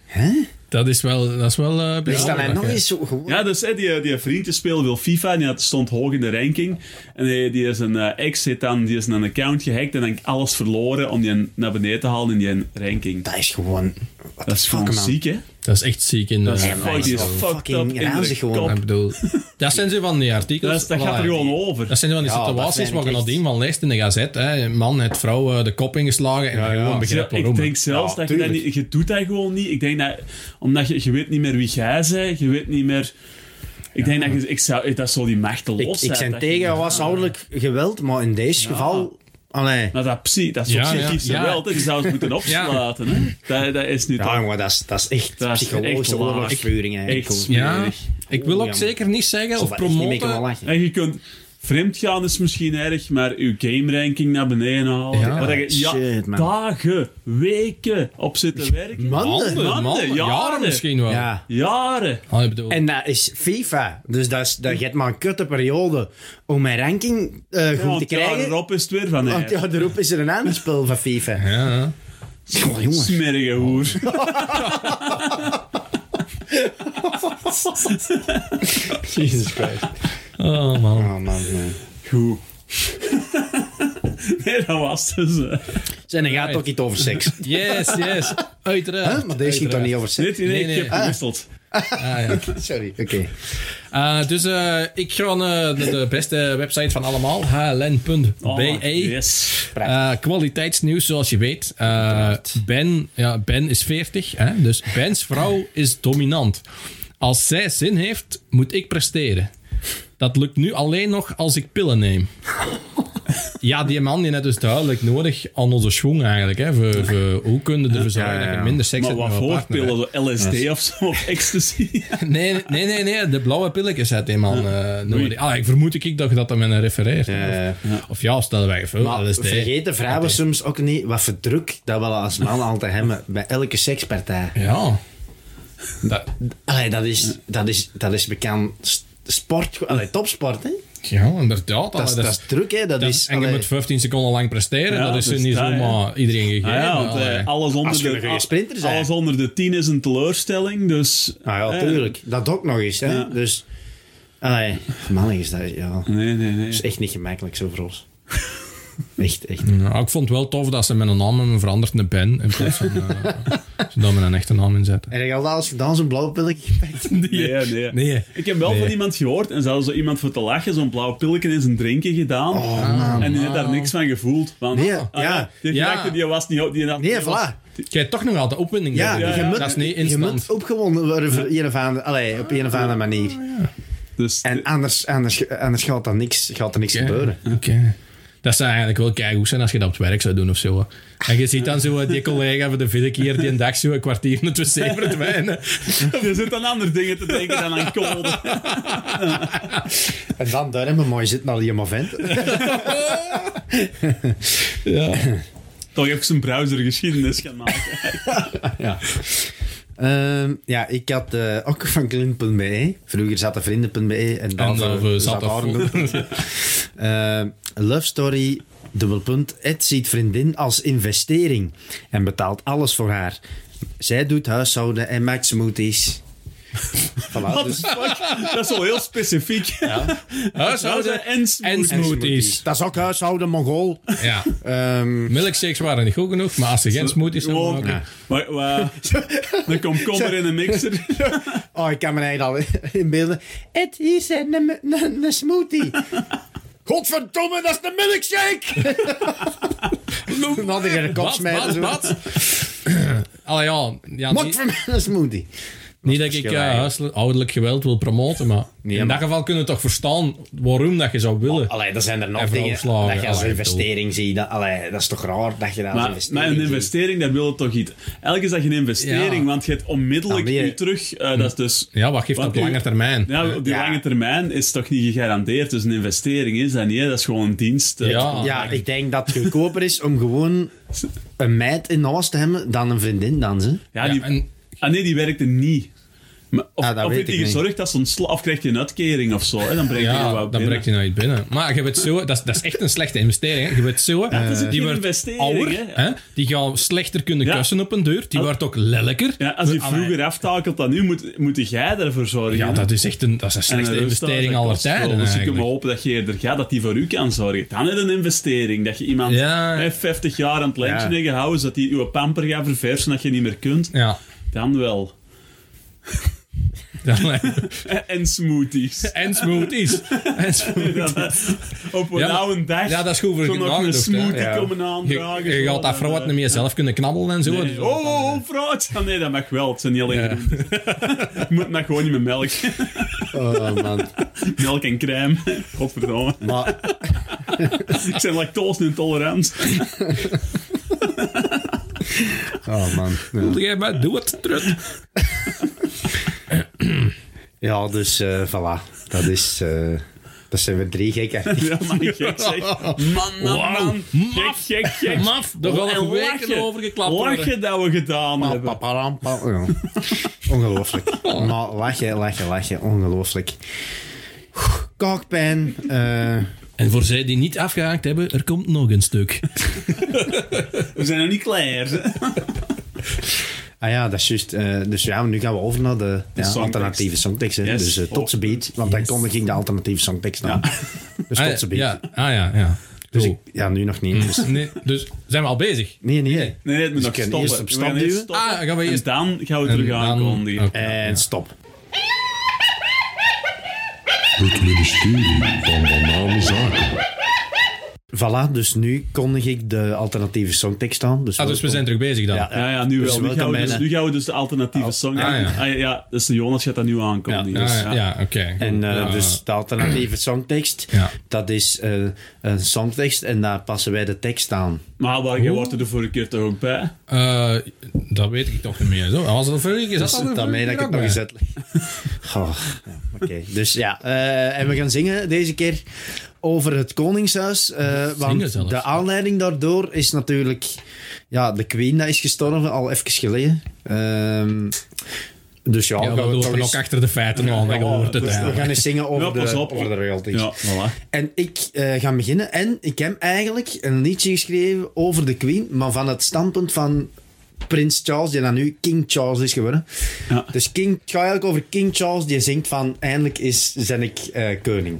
[SPEAKER 3] Dat is wel, dat is wel eh
[SPEAKER 1] Is dat
[SPEAKER 3] bijzonder,
[SPEAKER 1] nou nog
[SPEAKER 3] oké.
[SPEAKER 1] eens zo gewoon?
[SPEAKER 2] Ja, dus eh, die, die vriendje speelde wil FIFA en die had, stond hoog in de ranking. En die, die is een eh, ex zit dan, die is een account gehackt en dan alles verloren om die naar beneden te halen in die ranking.
[SPEAKER 1] Dat is gewoon... Wat
[SPEAKER 2] Dat is
[SPEAKER 1] fuck,
[SPEAKER 2] gewoon
[SPEAKER 1] man.
[SPEAKER 2] ziek, hè?
[SPEAKER 3] Dat is echt ziek in de...
[SPEAKER 2] Dat is,
[SPEAKER 1] maar
[SPEAKER 2] fuck,
[SPEAKER 1] dat
[SPEAKER 2] die
[SPEAKER 1] is
[SPEAKER 2] is
[SPEAKER 1] wel
[SPEAKER 2] fucked
[SPEAKER 1] fucking
[SPEAKER 2] up in de
[SPEAKER 1] ranzig gewoon.
[SPEAKER 2] kop.
[SPEAKER 3] Ik bedoel, dat zijn ze van die artikels.
[SPEAKER 2] Dat, is- dat
[SPEAKER 3] voilà.
[SPEAKER 2] gaat er gewoon over.
[SPEAKER 3] Dat zijn ze van die
[SPEAKER 1] Ja, dat
[SPEAKER 3] situaties
[SPEAKER 1] vind ik
[SPEAKER 3] waar je
[SPEAKER 1] echt.
[SPEAKER 3] nadien van leest in de gazet. Hè. Man heeft vrouw eh, de kop ingeslagen en je gewoon
[SPEAKER 2] Ja,
[SPEAKER 3] begrijpt waarom.
[SPEAKER 2] ik
[SPEAKER 3] hè.
[SPEAKER 2] denk zelfs
[SPEAKER 1] Ja,
[SPEAKER 2] dat je dat
[SPEAKER 1] tuurlijk.
[SPEAKER 2] niet... Je doet dat gewoon niet. Ik denk dat... Omdat je, je weet niet meer wie jij bent. Je weet niet meer... Ik denk dat je... Ik zou, eh, dat zo die machten
[SPEAKER 1] Ik,
[SPEAKER 2] los
[SPEAKER 1] ik
[SPEAKER 2] zijn
[SPEAKER 1] ben
[SPEAKER 2] dat je-
[SPEAKER 1] tegen huishoudelijk geweld, maar in deze geval... Allee.
[SPEAKER 2] Maar dat, psy, dat is
[SPEAKER 3] Ja,
[SPEAKER 2] ja, psychisch
[SPEAKER 3] ja, ja.
[SPEAKER 2] geweld. hè. Je zou het moeten opsluiten. hè. Dat, dat is nu
[SPEAKER 1] Ja,
[SPEAKER 2] toch...
[SPEAKER 1] jongen, dat is, dat is echt
[SPEAKER 2] Dat is echt
[SPEAKER 1] psychologische
[SPEAKER 2] laag.
[SPEAKER 1] oorlogsvoering eigenlijk.
[SPEAKER 2] Echt.
[SPEAKER 3] Ja,
[SPEAKER 2] Smerig.
[SPEAKER 3] ik wil ook
[SPEAKER 1] Jammer.
[SPEAKER 3] zeker niet zeggen of
[SPEAKER 1] Zal daar echt niet mee kunnen
[SPEAKER 3] promoten.
[SPEAKER 1] lachen.
[SPEAKER 2] En je kunt... Vreemd gaan is misschien erg, maar uw game ranking naar beneden halen.
[SPEAKER 3] Ja.
[SPEAKER 2] waar je ja,
[SPEAKER 1] Shit, man.
[SPEAKER 2] dagen, weken op zitten werken.
[SPEAKER 1] Mannen.
[SPEAKER 3] Mannen, mannen,
[SPEAKER 2] Mannen,
[SPEAKER 3] jaren
[SPEAKER 2] jaren.
[SPEAKER 3] misschien wel.
[SPEAKER 1] Ja.
[SPEAKER 2] Jaren.
[SPEAKER 3] Ah, ik bedoel,
[SPEAKER 1] En dat is FIFA. Dus dat, is, dat geeft maar een kutte periode om mijn ranking eh, goed
[SPEAKER 2] Want
[SPEAKER 1] te
[SPEAKER 2] het jaar
[SPEAKER 1] krijgen.
[SPEAKER 2] erop is het weer van
[SPEAKER 1] Want
[SPEAKER 2] hè.
[SPEAKER 1] ja, erop is er een ander spel van FIFA.
[SPEAKER 3] ja, ja.
[SPEAKER 1] Goh, jongen.
[SPEAKER 2] Smerige hoer.
[SPEAKER 1] Jesus Christ.
[SPEAKER 3] Oh man.
[SPEAKER 1] Oh, man, man.
[SPEAKER 2] Goed. nee, dat was het dus. eh.
[SPEAKER 1] Zijn er gaat toch iets over seks?
[SPEAKER 3] Yes, yes. Uiteraard.
[SPEAKER 1] Huh? Maar deze ging toch niet over seks?
[SPEAKER 2] Dit in
[SPEAKER 3] Nee,
[SPEAKER 2] één
[SPEAKER 3] nee.
[SPEAKER 2] keer gewisseld.
[SPEAKER 3] Ah, ja.
[SPEAKER 1] Sorry, oké.
[SPEAKER 3] Eh, dus eh, ik ga naar de, de beste website van allemaal, hln.be.
[SPEAKER 2] Ah, Oh, yes.
[SPEAKER 1] Prachtig.
[SPEAKER 3] Eh, kwaliteitsnieuws, zoals je weet. Eh, ben, ja, ben is 40, hè? dus Ben's vrouw is dominant. Als zij zin heeft, moet ik presteren. Dat lukt nu alleen nog als ik pillen neem. Ja, die man die net dus duidelijk nodig aan onze schoen eigenlijk. Hè, voor, voor, hoe kunnen ervoor zorgen
[SPEAKER 1] Ja, ja, ja.
[SPEAKER 3] dat je minder seks
[SPEAKER 2] Maar
[SPEAKER 3] hebt
[SPEAKER 2] wat
[SPEAKER 3] met een
[SPEAKER 2] voor
[SPEAKER 3] partner? hè?
[SPEAKER 2] pillen? Zo LSD of zo? Of ecstasy? Ah,
[SPEAKER 3] Nee, nee, nee, nee, de blauwe pilletjes had die man eh, nodig. Ah, ik vermoed ik dat je dat dan met een refereert.
[SPEAKER 1] Eh,
[SPEAKER 3] Of, of ja, stellen wij voor.
[SPEAKER 1] maar
[SPEAKER 3] LSD.
[SPEAKER 1] vergeet de vrouwen soms ook niet wat voor druk dat we als man altijd hebben bij elke sekspartij.
[SPEAKER 3] Ja. Dat,
[SPEAKER 1] Allee, dat is, dat is, dat is bekend s- sport, allee, topsport, hè?
[SPEAKER 3] Ja, inderdaad.
[SPEAKER 1] Dat is, dat is druk, hè. Dat
[SPEAKER 3] dat-
[SPEAKER 1] is,
[SPEAKER 3] en je
[SPEAKER 1] allee,
[SPEAKER 3] moet 15 seconden lang presteren.
[SPEAKER 2] Ja,
[SPEAKER 3] dat is
[SPEAKER 2] dus
[SPEAKER 3] niet
[SPEAKER 2] dat,
[SPEAKER 3] zomaar iedereen gegeven.
[SPEAKER 2] Ah ja, want, eh,
[SPEAKER 3] Allee.
[SPEAKER 2] alles, onder
[SPEAKER 1] Als je
[SPEAKER 2] de,
[SPEAKER 1] een goede sprinter bent.
[SPEAKER 2] alles onder de 10 is een teleurstelling, dus...
[SPEAKER 1] Ah ja,
[SPEAKER 2] eh,
[SPEAKER 1] tuurlijk. Dat ook nog eens, hè. Dus... Allee, mannen is dat... Ja. Dat
[SPEAKER 2] Nee, nee, nee.
[SPEAKER 1] is echt niet gemakkelijk, zo voor ons. Echt, echt.
[SPEAKER 3] Ja, ik vond het wel tof dat ze mijn naam hebben veranderd naar Ben. In plaats van eh, ze daar mijn echte naam in zetten.
[SPEAKER 1] En hij had alles gedaan, zo'n blauwe pilletje gepakt.
[SPEAKER 2] Nee, nee.
[SPEAKER 3] Nee.
[SPEAKER 2] Ik heb wel
[SPEAKER 3] Nee.
[SPEAKER 2] van iemand gehoord, en zelfs zo iemand voor te lachen, zo'n blauw pilletje in zijn drinken gedaan. Ah. en die heeft daar niks van gevoeld. Want,
[SPEAKER 1] Oh, Nee,
[SPEAKER 2] ah,
[SPEAKER 1] ja.
[SPEAKER 2] Die
[SPEAKER 3] Ja.
[SPEAKER 2] gedachte, die was niet... Die dacht,
[SPEAKER 1] Nee,
[SPEAKER 2] die was-
[SPEAKER 1] voilà.
[SPEAKER 3] Jij hebt toch nog altijd opwinding.
[SPEAKER 1] Ja,
[SPEAKER 3] nodig.
[SPEAKER 2] ja,
[SPEAKER 1] je
[SPEAKER 2] ja.
[SPEAKER 1] moet,
[SPEAKER 3] Dat is niet
[SPEAKER 1] je
[SPEAKER 3] instant.
[SPEAKER 1] moet opgewonden worden voor een of andere, allee, op een of andere manier.
[SPEAKER 2] Dus,
[SPEAKER 1] En anders, anders, anders gaat, er niks, gaat er niks gebeuren.
[SPEAKER 3] Oké. Dat zou eigenlijk wel keigoed zijn als je dat op het werk zou doen of zo. En je ziet dan zo eh, die collega voor de vierde keer die een dag zo een kwartier in het wc verdwijnen.
[SPEAKER 2] je zit aan andere dingen te denken dan aan kolen.
[SPEAKER 1] En dan daar hebben we mooi zitten al die maar vent.
[SPEAKER 2] Toch even zijn browser geschiedenis gaan maken.
[SPEAKER 1] Ja. Ehm, ja, ik had eh, ook van Clint.be. E. Vroeger zat er vrienden.be E en dan
[SPEAKER 3] En dan, eh, zat er-
[SPEAKER 1] Ehm Love Story, dubbel punt. Ed ziet vriendin als investering en betaalt alles voor haar. Zij doet huishouden en maakt smoothies. Voilà, dus-
[SPEAKER 2] Dat is wel heel specifiek.
[SPEAKER 3] Huishouden
[SPEAKER 2] En
[SPEAKER 3] en
[SPEAKER 2] smoothies.
[SPEAKER 3] smoothies. smoothies.
[SPEAKER 1] Dat is ook huishouden, Mongool.
[SPEAKER 3] Ja.
[SPEAKER 1] Ehm,
[SPEAKER 3] Milkshakes waren niet goed genoeg, maar als ze geen smoothies zouden
[SPEAKER 2] Gewoon,
[SPEAKER 3] maken...
[SPEAKER 2] maar, maar, een komkommer in een mixer.
[SPEAKER 1] oh, ik kan me eigenlijk al inbeelden. Ed, hier is een, een, een- een smoothie. Godverdomme, dat is een milkshake! Dan had ik er een kop
[SPEAKER 3] Wat,
[SPEAKER 1] smijten.
[SPEAKER 3] wat,
[SPEAKER 1] zo.
[SPEAKER 3] wat? Allee, ja. ja
[SPEAKER 1] Mot
[SPEAKER 3] niet,
[SPEAKER 1] voor mij een smoothie.
[SPEAKER 3] niet dat ik
[SPEAKER 1] verschil
[SPEAKER 3] eh,
[SPEAKER 1] eigenlijk.
[SPEAKER 3] huiselijk- ouderlijk geweld wil promoten, maar
[SPEAKER 1] Nee,
[SPEAKER 3] in
[SPEAKER 1] maar-
[SPEAKER 3] dat geval kunnen we toch verstaan waarom dat je zou willen.
[SPEAKER 1] Allee, er zijn er nog
[SPEAKER 3] En vooral
[SPEAKER 1] dingen
[SPEAKER 3] slagen,
[SPEAKER 1] dat je als
[SPEAKER 3] allee,
[SPEAKER 1] investering ziet. Dat, allee, dat is toch raar dat je dat als
[SPEAKER 2] Maar,
[SPEAKER 1] investering
[SPEAKER 2] maar een
[SPEAKER 1] ziet.
[SPEAKER 2] investering, dat wil het toch iets. Elke is dat geen investering,
[SPEAKER 3] Ja.
[SPEAKER 2] want je hebt onmiddellijk
[SPEAKER 1] Dan ben je-
[SPEAKER 2] nu terug. eh, dat is dus,
[SPEAKER 3] Ja, wat geeft
[SPEAKER 2] Want
[SPEAKER 3] op lange
[SPEAKER 2] u-
[SPEAKER 3] termijn?
[SPEAKER 2] ja, op die
[SPEAKER 1] Ja.
[SPEAKER 2] lange termijn is toch niet gegarandeerd. Dus een investering is dat niet, hè. dat is gewoon een dienst. eh.
[SPEAKER 3] Ja.
[SPEAKER 1] Ja, ik denk dat het goedkoper is om gewoon een meid in huis te hebben dan een vriendin dan ze.
[SPEAKER 2] Ja, die,
[SPEAKER 3] Ja, en-
[SPEAKER 2] Ah nee, die werkte niet. Maar, of
[SPEAKER 1] Ah, dat
[SPEAKER 2] of
[SPEAKER 1] weet
[SPEAKER 2] heeft hij
[SPEAKER 1] ik niet.
[SPEAKER 2] gezorgd dat ze ontslaat, of krijgt hij een uitkering of zo. Hè? Dan brengt hij
[SPEAKER 3] Ja,
[SPEAKER 2] wat
[SPEAKER 3] dan
[SPEAKER 2] binnen.
[SPEAKER 3] breekt je nou iets binnen. Maar je weet zo, dat is, dat is echt een slechte investering. Hè. Je weet zo,
[SPEAKER 2] is ook
[SPEAKER 3] die
[SPEAKER 2] geen
[SPEAKER 3] wordt
[SPEAKER 2] investering,
[SPEAKER 3] ouder,
[SPEAKER 2] hè.
[SPEAKER 3] hè. die gaan slechter kunnen
[SPEAKER 2] Ja.
[SPEAKER 3] kussen op een deur, die wordt ook lelijker.
[SPEAKER 2] Ja, als je
[SPEAKER 3] Allee,
[SPEAKER 2] vroeger aftakelt dan nu, moet, moet jij ervoor zorgen.
[SPEAKER 3] Ah, ja,
[SPEAKER 2] hè.
[SPEAKER 3] dat is echt een, dat is een
[SPEAKER 2] En een
[SPEAKER 3] slechte
[SPEAKER 2] rusthuis,
[SPEAKER 3] investering
[SPEAKER 2] dat
[SPEAKER 3] aller
[SPEAKER 2] kost veel.
[SPEAKER 3] tijden
[SPEAKER 2] Dus je kunt maar
[SPEAKER 3] eigenlijk.
[SPEAKER 2] hopen dat je er gaat, dat die voor u kan zorgen. Dan is een investering. Dat je iemand
[SPEAKER 3] Ja.
[SPEAKER 2] hè, 50 jaar aan het lijntje
[SPEAKER 1] Ja.
[SPEAKER 2] heeft gehouden, zodat die uw pamper gaat verversen dat je niet meer kunt.
[SPEAKER 3] Ja,
[SPEAKER 2] Dan wel.
[SPEAKER 3] dan,
[SPEAKER 2] En smoothies.
[SPEAKER 3] en smoothies. En smoothies.
[SPEAKER 2] Ja, dat- op een
[SPEAKER 3] Ja, maar-
[SPEAKER 2] oude dag.
[SPEAKER 3] ja, dat is goed voor
[SPEAKER 2] kon
[SPEAKER 3] je
[SPEAKER 2] nog een
[SPEAKER 3] nagenoeg, hè.
[SPEAKER 2] smoothie
[SPEAKER 1] Ja.
[SPEAKER 2] komen
[SPEAKER 3] Je,
[SPEAKER 2] aandragen.
[SPEAKER 3] je
[SPEAKER 2] zo,
[SPEAKER 3] gaat dat
[SPEAKER 2] dan,
[SPEAKER 3] vrouw wat
[SPEAKER 2] eh,
[SPEAKER 3] niet meer zelf kunnen knabbelen en zo.
[SPEAKER 2] Nee.
[SPEAKER 3] Dus-
[SPEAKER 2] Oh, oh, oh, fruit. Ah, nee, dat mag wel. Het zijn niet alleen groenten. Je moet dat gewoon niet met melk.
[SPEAKER 1] Oh man.
[SPEAKER 2] Melk en crème. Godverdomme.
[SPEAKER 1] Maar,
[SPEAKER 2] Ik ben lactose intolerant.
[SPEAKER 1] oh man. Ja.
[SPEAKER 3] Doe jij maar, doe het terug.
[SPEAKER 1] Ja, dus eh voilà. Dat is... eh, dat zijn we drie gekken.
[SPEAKER 2] Ja, maar gek zeg. Man, man,
[SPEAKER 3] Wauw.
[SPEAKER 2] man. Gek, gek, gek.
[SPEAKER 3] Maf, daar
[SPEAKER 2] Oh,
[SPEAKER 3] gaan
[SPEAKER 2] en
[SPEAKER 3] nog
[SPEAKER 2] lachen.
[SPEAKER 3] weken over geklapt worden.
[SPEAKER 2] Lachen dat we gedaan hebben.
[SPEAKER 1] Paparampa. Ja. Ongelooflijk. Maar lachen, lachen, lachen. Ongelooflijk. Oeh, Kaakpijn. eh,
[SPEAKER 3] En voor zij die niet afgehaakt hebben, er komt nog een stuk.
[SPEAKER 2] We zijn nog niet klaar. hè.
[SPEAKER 1] ah ja, dat is juist. eh, dus ja, nu gaan we over naar de, ja,
[SPEAKER 2] songtekst.
[SPEAKER 1] alternatieve songtekst. hè.
[SPEAKER 2] Yes.
[SPEAKER 1] Dus eh, tot ze beat. Want dan kondig ik de alternatieve songtekst aan. Dus
[SPEAKER 3] Ah,
[SPEAKER 1] tot ze beat.
[SPEAKER 3] ja, ah ja, ja.
[SPEAKER 1] Dus
[SPEAKER 3] Goed.
[SPEAKER 1] ik, ja, nu nog niet. Dus,
[SPEAKER 3] Nee, dus zijn we al bezig?
[SPEAKER 1] nee, nee.
[SPEAKER 2] Nee, het moet nog
[SPEAKER 1] ik kan
[SPEAKER 2] stoppen.
[SPEAKER 1] eerst op
[SPEAKER 2] We gaan
[SPEAKER 1] stap
[SPEAKER 2] eerst
[SPEAKER 1] duwen.
[SPEAKER 2] stoppen.
[SPEAKER 3] Ah, gaan we eerst-
[SPEAKER 2] En dan gaan we terug
[SPEAKER 3] dan-
[SPEAKER 2] aankondigen.
[SPEAKER 3] oké.
[SPEAKER 1] En stop.
[SPEAKER 4] Het ministerie van Banale Zaken.
[SPEAKER 1] Voilà, dus nu kondig ik de alternatieve songtekst aan. Dus,
[SPEAKER 3] Ah, dus we
[SPEAKER 1] welkom.
[SPEAKER 3] zijn terug bezig dan.
[SPEAKER 1] Ja,
[SPEAKER 2] Ja, ja, nu
[SPEAKER 1] Dus
[SPEAKER 2] wel. Nu
[SPEAKER 1] welkom
[SPEAKER 2] gaan, we dus,
[SPEAKER 1] bijna.
[SPEAKER 2] nu gaan we dus de alternatieve song...
[SPEAKER 3] ah, ja.
[SPEAKER 2] Ah, ja. ja, dus de Jonas gaat dat nu aankondigen.
[SPEAKER 3] Ah,
[SPEAKER 2] dus,
[SPEAKER 3] ja, ja, oké.
[SPEAKER 1] En
[SPEAKER 3] goed.
[SPEAKER 1] eh,
[SPEAKER 3] Ja,
[SPEAKER 1] dus de alternatieve songtekst,
[SPEAKER 3] Ja.
[SPEAKER 1] dat is eh, een songtekst en daar passen wij de tekst aan.
[SPEAKER 2] Maar waar, je wordt er de vorige keer toch ook bij?
[SPEAKER 3] eh, dat weet ik toch niet meer. Zo, was dat vorige keer? Zat
[SPEAKER 1] Dus
[SPEAKER 3] dat er
[SPEAKER 1] daarmee
[SPEAKER 3] vorige
[SPEAKER 1] dat ik
[SPEAKER 3] keer
[SPEAKER 1] het
[SPEAKER 3] ook
[SPEAKER 1] nog eens
[SPEAKER 3] bij?
[SPEAKER 1] uitleg. Goh, ja, oké. Dus ja, eh, en we gaan zingen deze keer over het Koningshuis. eh, want
[SPEAKER 3] zelfs.
[SPEAKER 1] de aanleiding daardoor is natuurlijk... Ja, de Queen dat is gestorven, al even geleden. Ehm, Dus ja,
[SPEAKER 3] Ja,
[SPEAKER 1] gaan
[SPEAKER 3] we
[SPEAKER 1] toch
[SPEAKER 3] lopen ook
[SPEAKER 1] eens-
[SPEAKER 3] achter de feiten aan, hè, je hoort het
[SPEAKER 1] dus we
[SPEAKER 3] eigenlijk.
[SPEAKER 1] gaan eens zingen over,
[SPEAKER 2] Ja, pas
[SPEAKER 1] de,
[SPEAKER 2] op.
[SPEAKER 1] over de royalties.
[SPEAKER 2] Ja, voilà.
[SPEAKER 1] En ik eh, ga beginnen. En ik heb eigenlijk een liedje geschreven over de Queen, maar van het standpunt van Prins Charles, die dan nu King Charles is geworden.
[SPEAKER 2] Ja.
[SPEAKER 1] Dus King, het gaat eigenlijk over King Charles, die zingt van eindelijk is, ben ik eh, koning.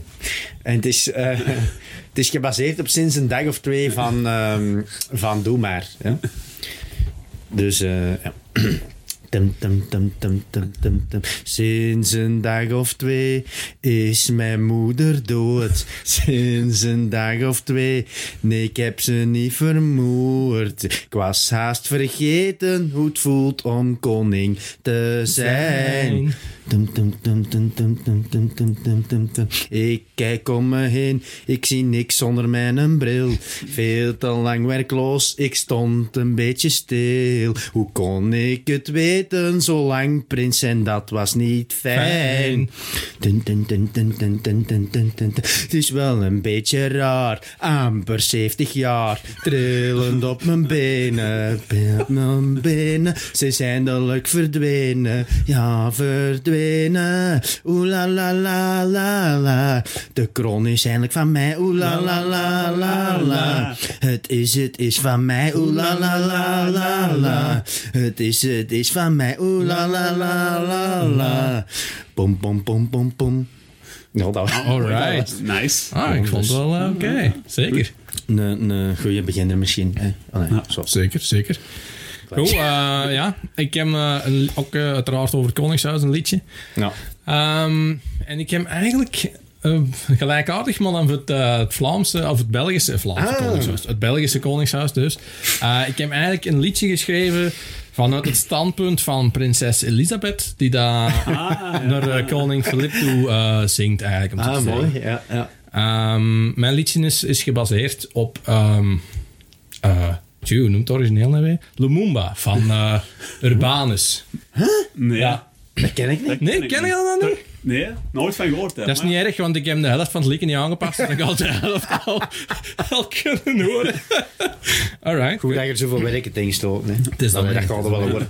[SPEAKER 1] En het is, eh, het is gebaseerd op sinds een dag of twee van, ehm, van Doe maar. Ja. Dus eh, ja. Tum, tum, tum, tum, tum, tum, tum. Sinds een dag of twee is mijn moeder dood. Sinds een dag of twee, nee, ik heb ze niet vermoord. Ik was haast vergeten hoe het voelt om koning te zijn. Tum, tum, tum, tum, tum, tum, tum, tum, tum, tum, tum. Ik kijk om me heen, ik zie niks zonder mijn bril. Veel te lang werkloos, ik stond een beetje stil. Hoe kon ik het weten, zo lang prins en dat was niet fijn.
[SPEAKER 3] Fijn.
[SPEAKER 1] Dun, dun, dun, dun, dun, dun, dun, dun, dun, dun. Het is wel een beetje raar, amper 70 jaar, trillend op mijn benen, ben- op mijn benen. Ze zijn eindelijk verdwenen, ja verdwenen. Oeh la la la la la, de kroon is eindelijk van mij, oeh la la la la la. Het is, het is van mij, oeh la la la la la. Het is, het is van mij, oeh la la la la la. Pom pom pom pom pom. Ja, dat was
[SPEAKER 3] Alright.
[SPEAKER 2] Nice.
[SPEAKER 3] Ah, ik vond het wel eh, oké. Zeker.
[SPEAKER 1] een, een goede beginner misschien. Hè? Allee, zo.
[SPEAKER 3] Zeker, zeker. Goed, eh, ja. Ik heb eh, een li- ook eh, uiteraard over Koningshuis een liedje.
[SPEAKER 1] Ja.
[SPEAKER 3] Ehm, en ik heb eigenlijk eh, gelijkaardig, maar dan voor het, eh, het Vlaamse, of het Belgische, eh, Vlaamse
[SPEAKER 1] Ah.
[SPEAKER 3] Koningshuis. Het Belgische Koningshuis dus. Eh, ik heb eigenlijk een liedje geschreven vanuit het standpunt van prinses Elisabeth, die daar
[SPEAKER 1] Ah,
[SPEAKER 3] naar eh, koning Filip toe eh, zingt eigenlijk. om zo te
[SPEAKER 1] Ah,
[SPEAKER 3] zeggen.
[SPEAKER 1] mooi. Ja, ja.
[SPEAKER 3] Ehm, mijn liedje is, is gebaseerd op. ehm eh, tjoe, hoe noemt het origineel nou weer? Lumumba van eh, Urbanus.
[SPEAKER 2] Nee.
[SPEAKER 3] Ja.
[SPEAKER 1] Dat ken ik niet.
[SPEAKER 3] Nee, ken je dat dan niet?
[SPEAKER 2] Nee, nooit van gehoord. Hè,
[SPEAKER 3] Dat is
[SPEAKER 2] maar-
[SPEAKER 3] niet erg, want ik heb de helft van het liedje niet aangepast. Dus ik had de helft al, al kunnen horen. Alright.
[SPEAKER 1] Hoe dat je er zoveel werk tegen stoot. Het
[SPEAKER 3] is
[SPEAKER 1] dat
[SPEAKER 3] dan
[SPEAKER 1] gaat
[SPEAKER 3] werk.
[SPEAKER 1] er wel worden.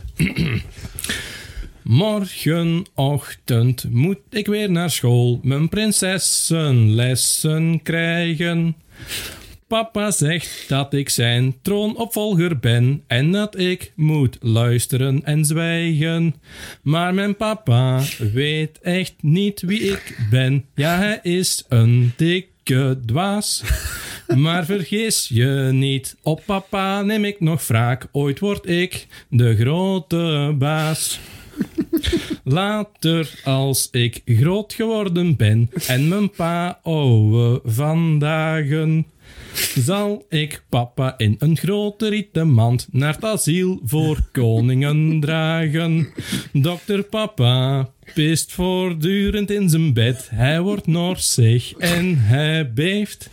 [SPEAKER 3] Morgenochtend moet ik weer naar school mijn prinsessenlessen krijgen. Papa zegt dat ik zijn troonopvolger ben en dat ik moet luisteren en zwijgen. Maar mijn papa weet echt niet wie ik ben. Ja, hij is een dikke dwaas. Maar vergis je niet, op papa neem ik nog wraak. Ooit word ik de grote baas. Later, als ik groot geworden ben en mijn pa ouwe vandagen, zal ik papa in een grote rieten mand naar het asiel voor koningen dragen. Dokter papa pist voortdurend in zijn bed, hij wordt norsig en hij beeft.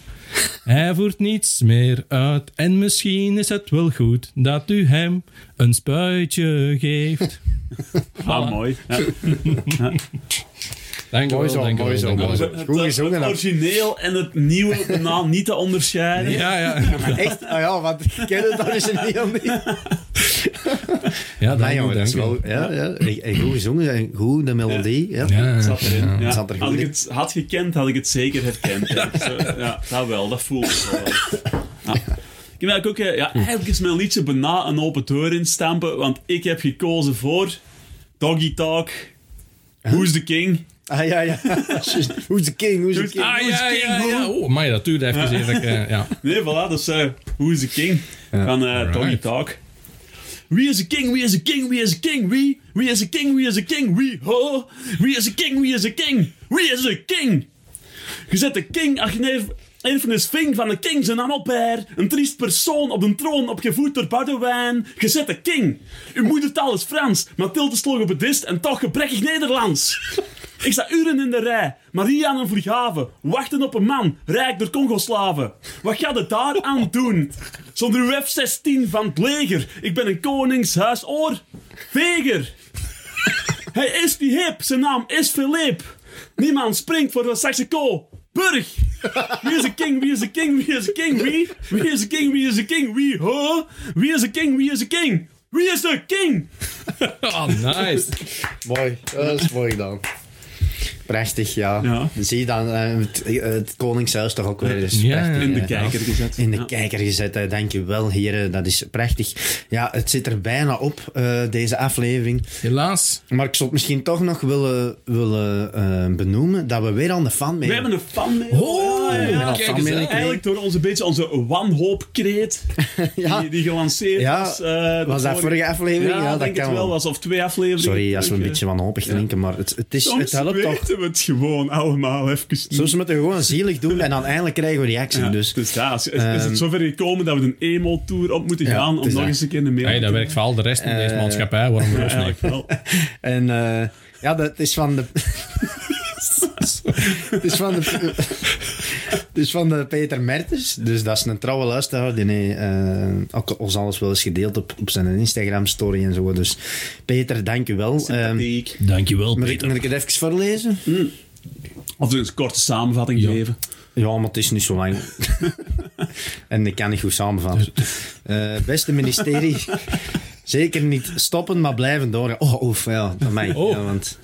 [SPEAKER 3] Hij voert niets meer uit en misschien is het wel goed dat u hem een spuitje geeft.
[SPEAKER 2] Ah, mooi. Ja.
[SPEAKER 3] Dank u
[SPEAKER 1] Mooi
[SPEAKER 3] wel,
[SPEAKER 1] zo,
[SPEAKER 3] dank u wel,
[SPEAKER 1] mooi zo,
[SPEAKER 3] dank u wel.
[SPEAKER 1] mooi zo. Goed
[SPEAKER 2] Het,
[SPEAKER 1] gezongen.
[SPEAKER 2] het
[SPEAKER 1] hè.
[SPEAKER 2] origineel en het nieuwe daarna niet te onderscheiden.
[SPEAKER 3] Ja, ja.
[SPEAKER 1] Echt? Ah ja, want ik ken het origineel niet.
[SPEAKER 3] Ja,
[SPEAKER 1] Maar
[SPEAKER 3] dank u,
[SPEAKER 1] jongen, dat
[SPEAKER 3] dank
[SPEAKER 1] is
[SPEAKER 3] u.
[SPEAKER 1] wel... Ja, ja. En- en goed gezongen, en goed, de melodie. Ja.
[SPEAKER 3] Ja,
[SPEAKER 2] Het Zat erin. Ja.
[SPEAKER 1] het zat er goed
[SPEAKER 2] had ik
[SPEAKER 1] in.
[SPEAKER 2] het had gekend, had ik het zeker herkend. Ja, Zo, ja dat wel, dat voel ik wel. Ja. Ik heb eigenlijk ook, eh, ja, eigenlijk is mijn liedje bijna een open deur instampen, want ik heb gekozen voor Doggy Talk, Who's the King.
[SPEAKER 1] Ah ja, ja. Who's the king? Who's the king?
[SPEAKER 3] Ah, ja, ja, ja. Oh, maar dat duurde even zeer. dat ik, eh, Ja.
[SPEAKER 2] Nee, voilà, dus eh Who's the King van eh Doggy Talk. Wie is de king, wie is de king, wie is de king, wie? Wie is de king, wie is de king, wie? Ho! Wie is de king, wie is de king, wie is de king? Je zet de king, ach nee, Infamous Ving van de king zijn naam op haar. Een triest persoon op een troon, opgevoed door Boudewijn. Je zet de king. Uw moedertaal is Frans, Mathilde sloeg op het dist en toch gebrekkig Nederlands. Ik sta uren in de rij, Maria aan een vlieghaven, wachten op een man, rijk door Congoslaven. Wat gaat het daar aan doen? Zonder uw F-16 van het leger, ik ben een koningshuisoor. Veger! Hij is die hip, zijn naam is Philip. Niemand springt voor de Saxico. Burg! Wie is de king, wie is de king, wie is de king, wie? Wie is de king, wie is de king, wie? Ho! Wie is de king, wie is de king? Wie is de king?
[SPEAKER 3] Oh, nice.
[SPEAKER 1] Mooi, dat is mooi gedaan. Prachtig, ja.
[SPEAKER 2] Ja.
[SPEAKER 1] Zie je dan eh, het, het koningshuis toch ook weer. Dus
[SPEAKER 3] Ja,
[SPEAKER 1] prachtig,
[SPEAKER 3] in
[SPEAKER 2] de
[SPEAKER 1] eh,
[SPEAKER 2] kijker gezet.
[SPEAKER 1] In de
[SPEAKER 2] Ja.
[SPEAKER 1] kijker gezet, hè. dankjewel heren. Dat is prachtig. Ja, het zit er bijna op, eh, deze aflevering.
[SPEAKER 3] Helaas.
[SPEAKER 1] Maar ik zou het misschien toch nog willen, willen eh, benoemen dat we weer aan de fan mee
[SPEAKER 2] We hebben een fanmail.
[SPEAKER 3] Oh,
[SPEAKER 2] Ja, ja, ja.
[SPEAKER 1] een
[SPEAKER 3] kijk eens
[SPEAKER 1] fanmail
[SPEAKER 3] aan.
[SPEAKER 1] gekregen.
[SPEAKER 2] Eigenlijk door onze beetje onze wanhoopkreet
[SPEAKER 1] Ja.
[SPEAKER 2] die, die gelanceerd
[SPEAKER 1] Ja.
[SPEAKER 2] was. eh, de
[SPEAKER 1] Was dat vorige aflevering?
[SPEAKER 2] Ja,
[SPEAKER 1] Ja, dat
[SPEAKER 2] denk
[SPEAKER 1] kan
[SPEAKER 2] het wel.
[SPEAKER 1] wel.
[SPEAKER 2] Was of twee afleveringen.
[SPEAKER 1] Sorry als we een
[SPEAKER 2] terug,
[SPEAKER 1] beetje
[SPEAKER 2] eh.
[SPEAKER 1] wanhopig drinken, maar het, het, is,
[SPEAKER 2] Soms
[SPEAKER 1] het helpt toch.
[SPEAKER 2] weten we het gewoon allemaal even niet.
[SPEAKER 1] Soms moeten we gewoon zielig doen en dan eindelijk krijgen we reactie.
[SPEAKER 2] Ja,
[SPEAKER 1] Dus
[SPEAKER 2] dus ja, is, is- is
[SPEAKER 1] ehm,
[SPEAKER 2] het zover gekomen dat we een emo-tour op moeten
[SPEAKER 1] Ja,
[SPEAKER 2] gaan
[SPEAKER 1] het
[SPEAKER 2] om
[SPEAKER 1] is
[SPEAKER 2] nog
[SPEAKER 1] dat.
[SPEAKER 2] eens een keer een mail
[SPEAKER 3] Hey,
[SPEAKER 2] te
[SPEAKER 3] dat werkt voor al de rest in
[SPEAKER 1] Eh,
[SPEAKER 3] deze maatschappij. Waarom
[SPEAKER 2] doen?
[SPEAKER 3] ons
[SPEAKER 2] Ja,
[SPEAKER 3] niet?
[SPEAKER 2] eigenlijk wel.
[SPEAKER 1] En eh, ja, dat is van de. Het is van de. Het is van de Peter Mertens. Dus dat is een trouwe luisteraar. Die nee, eh, ook ons alles wel eens gedeeld op, op zijn Instagram-story en zo. Dus Peter, dank u wel. Ehm,
[SPEAKER 2] Sympathiek.
[SPEAKER 3] Dankjewel,
[SPEAKER 1] moet, ik, moet ik het even voorlezen?
[SPEAKER 2] Of dus een korte samenvatting geven.
[SPEAKER 1] Ja, maar het is niet zo lang. en ik kan niet goed samenvatten. Eh, beste ministerie, zeker niet stoppen, maar blijven door. Oh, oef, ja, dat mij.
[SPEAKER 3] Oh.
[SPEAKER 1] Ja, want,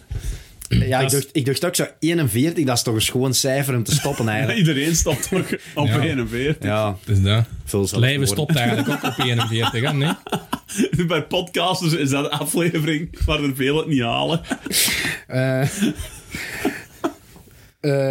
[SPEAKER 1] ja ik,
[SPEAKER 3] is-
[SPEAKER 1] dacht, ik dacht ook zo 41, dat is toch een schoon cijfer om te stoppen eigenlijk.
[SPEAKER 2] Iedereen stapt toch op
[SPEAKER 3] Ja.
[SPEAKER 2] 41.
[SPEAKER 1] Ja,
[SPEAKER 3] Dus dat.
[SPEAKER 1] vul
[SPEAKER 3] Het leven stopt eigenlijk ook op 41, hè? Nee?
[SPEAKER 2] Bij podcasters is dat een aflevering waar er veel het niet halen.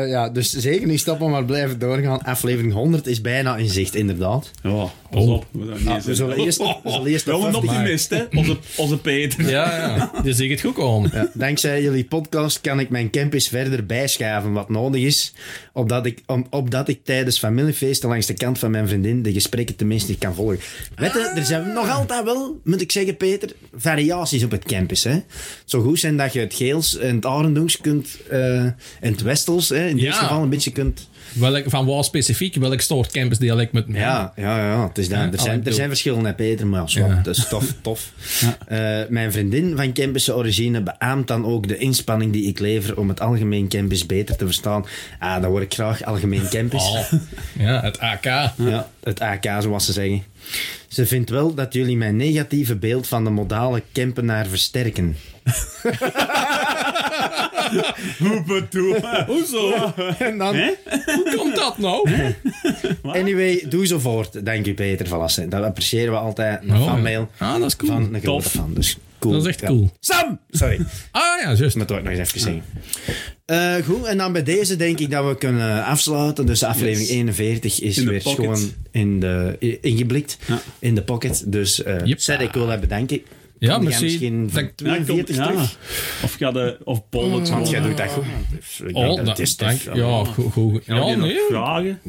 [SPEAKER 1] ja, dus zeker niet stoppen, maar blijven doorgaan. Aflevering 100 is bijna in zicht, inderdaad.
[SPEAKER 2] Ja, pas
[SPEAKER 3] Oh.
[SPEAKER 2] op. We, zijn niet
[SPEAKER 1] Ah,
[SPEAKER 2] eens
[SPEAKER 1] we
[SPEAKER 2] in-
[SPEAKER 1] zullen eerst- we zullen eerst
[SPEAKER 2] Wel een
[SPEAKER 1] even-
[SPEAKER 2] optimist, hè? Onze, onze Peter.
[SPEAKER 3] Ja, ja. Dus ik het goed om.
[SPEAKER 1] Ja, dankzij jullie podcast kan ik mijn campus verder bijschaven wat nodig is, opdat ik, om, opdat ik tijdens familiefeesten langs de kant van mijn vriendin de gesprekken tenminste kan volgen. Weet je, er zijn nog altijd wel, moet ik zeggen Peter, variaties op het campus. Hè? Zo goed zijn dat je het Geels en het Arendoens kunt, eh, en het Westels hè, in dit
[SPEAKER 3] Ja.
[SPEAKER 1] geval een beetje kunt...
[SPEAKER 3] Welk, van waar specifiek? Welk soort campusdialect met mij?
[SPEAKER 1] Ja, ja, ja. Het is dat.
[SPEAKER 3] Ja,
[SPEAKER 1] er,
[SPEAKER 3] al ik
[SPEAKER 1] zijn, er
[SPEAKER 3] bedoel-
[SPEAKER 1] zijn verschillen, hè, Peter, maar ja,
[SPEAKER 3] Ja.
[SPEAKER 1] dat is tof. tof. Eh, mijn vriendin van Campus origine beaamt dan ook de inspanning die ik lever om het algemeen Campus beter te verstaan. Ah, dan word ik graag algemeen Campus.
[SPEAKER 3] Oh. Ja, het AK.
[SPEAKER 1] Ja, het AK, zoals ze zeggen. Ze vindt wel dat jullie mijn negatieve beeld van de modale campenaar versterken.
[SPEAKER 2] Hoepen toe. Hoezo?
[SPEAKER 1] En dan...
[SPEAKER 3] Hoe komt dat nou?
[SPEAKER 1] Anyway, doe zo voort. Dank u, Peter van Assen. Dat appreciëren we altijd. Een
[SPEAKER 3] Oh,
[SPEAKER 1] fanmail
[SPEAKER 3] ja. Ah, dat is cool.
[SPEAKER 1] van een grote
[SPEAKER 2] Tof.
[SPEAKER 1] fan. Dus cool.
[SPEAKER 3] Dat is echt
[SPEAKER 1] Ja.
[SPEAKER 3] cool.
[SPEAKER 1] Sam! Sorry.
[SPEAKER 3] Ah ja, juist.
[SPEAKER 1] Dat moet ik nog eens even zeggen. Eh, goed, en dan bij deze denk ik dat we kunnen afsluiten. Dus aflevering
[SPEAKER 2] Yes.
[SPEAKER 1] 41 is
[SPEAKER 2] In de
[SPEAKER 1] weer
[SPEAKER 2] pocket.
[SPEAKER 1] gewoon in de, i- ingeblikt.
[SPEAKER 2] Ja.
[SPEAKER 1] In de pocket. Dus eh
[SPEAKER 3] Jep.
[SPEAKER 1] Zet, ik wil dat bedanken.
[SPEAKER 3] Ja,
[SPEAKER 1] Kom jij
[SPEAKER 3] merci.
[SPEAKER 1] misschien van
[SPEAKER 3] Dank-
[SPEAKER 1] 42
[SPEAKER 2] Ja, kom- ja.
[SPEAKER 1] terug?
[SPEAKER 2] Of ga de... Of
[SPEAKER 3] Mm.
[SPEAKER 2] Bollocks.
[SPEAKER 1] Want jij
[SPEAKER 2] gewoon-
[SPEAKER 1] doet dat goed. Ik denk
[SPEAKER 3] Oh,
[SPEAKER 1] dat
[SPEAKER 3] dat
[SPEAKER 1] het is
[SPEAKER 3] is
[SPEAKER 1] te
[SPEAKER 3] dank.
[SPEAKER 1] veel.
[SPEAKER 3] Ja, goed. goed.
[SPEAKER 2] Heb
[SPEAKER 3] Ja,
[SPEAKER 2] je nog
[SPEAKER 3] nee.
[SPEAKER 2] vragen?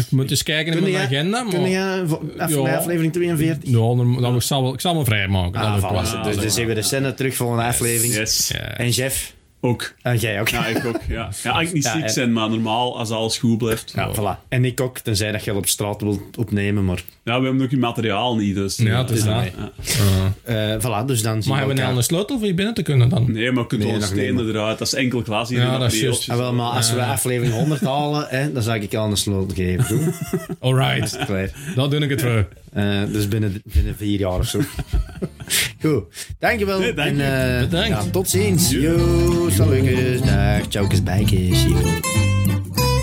[SPEAKER 3] Ik moet eens kijken in
[SPEAKER 1] Kun
[SPEAKER 3] mijn
[SPEAKER 1] jij-
[SPEAKER 3] agenda, maar...
[SPEAKER 1] Kun jij vo- af-
[SPEAKER 3] Ja.
[SPEAKER 1] bij aflevering 42?
[SPEAKER 3] Ja, dan, dan, ik, zal wel, ik zal me vrijmaken.
[SPEAKER 1] Ah,
[SPEAKER 3] dat
[SPEAKER 1] voilà.
[SPEAKER 3] was
[SPEAKER 1] dus dan zien we de scène terug volgende aflevering.
[SPEAKER 2] Yes.
[SPEAKER 1] En Jeff,
[SPEAKER 2] Ook.
[SPEAKER 1] en jij ook.
[SPEAKER 2] Ja, ik ook. Ja, ja ik niet
[SPEAKER 1] Ja,
[SPEAKER 2] ziek
[SPEAKER 1] en-
[SPEAKER 2] zijn, maar normaal als alles goed blijft. Ja,
[SPEAKER 1] Ja, voilà. En ik ook, tenzij dat je op straat wilt opnemen, maar...
[SPEAKER 2] we hebben ook je materiaal niet, dus...
[SPEAKER 3] Ja, het is
[SPEAKER 2] eh,
[SPEAKER 3] dat.
[SPEAKER 2] ja.
[SPEAKER 1] eh voilà, dus dan zien
[SPEAKER 3] Maar hebben we nou
[SPEAKER 1] elkaar.
[SPEAKER 3] een sleutel voor je binnen te kunnen dan?
[SPEAKER 2] Nee, maar je kunt
[SPEAKER 1] Nee,
[SPEAKER 2] wel
[SPEAKER 1] nog
[SPEAKER 2] stenen
[SPEAKER 1] niet,
[SPEAKER 2] eruit. Dat is enkel glas hier
[SPEAKER 3] Ja,
[SPEAKER 2] in
[SPEAKER 3] dat is
[SPEAKER 2] beeldje.
[SPEAKER 1] Ah, wel, maar als
[SPEAKER 2] Eh.
[SPEAKER 1] we aflevering 100 halen, hè, dan zou ik al een slot geven. Goed,
[SPEAKER 3] Alright,
[SPEAKER 1] klaar.
[SPEAKER 3] dan doe ik het voor.
[SPEAKER 1] Eh, dus binnen, binnen vier jaar of zo. Goed, dankjewel.
[SPEAKER 2] Nee, dank
[SPEAKER 1] en,
[SPEAKER 2] je.
[SPEAKER 1] eh,
[SPEAKER 3] Bedankt.
[SPEAKER 1] ja, tot ziens. Yo, salukjes. Dag, tjaukes, bijkes. Yo.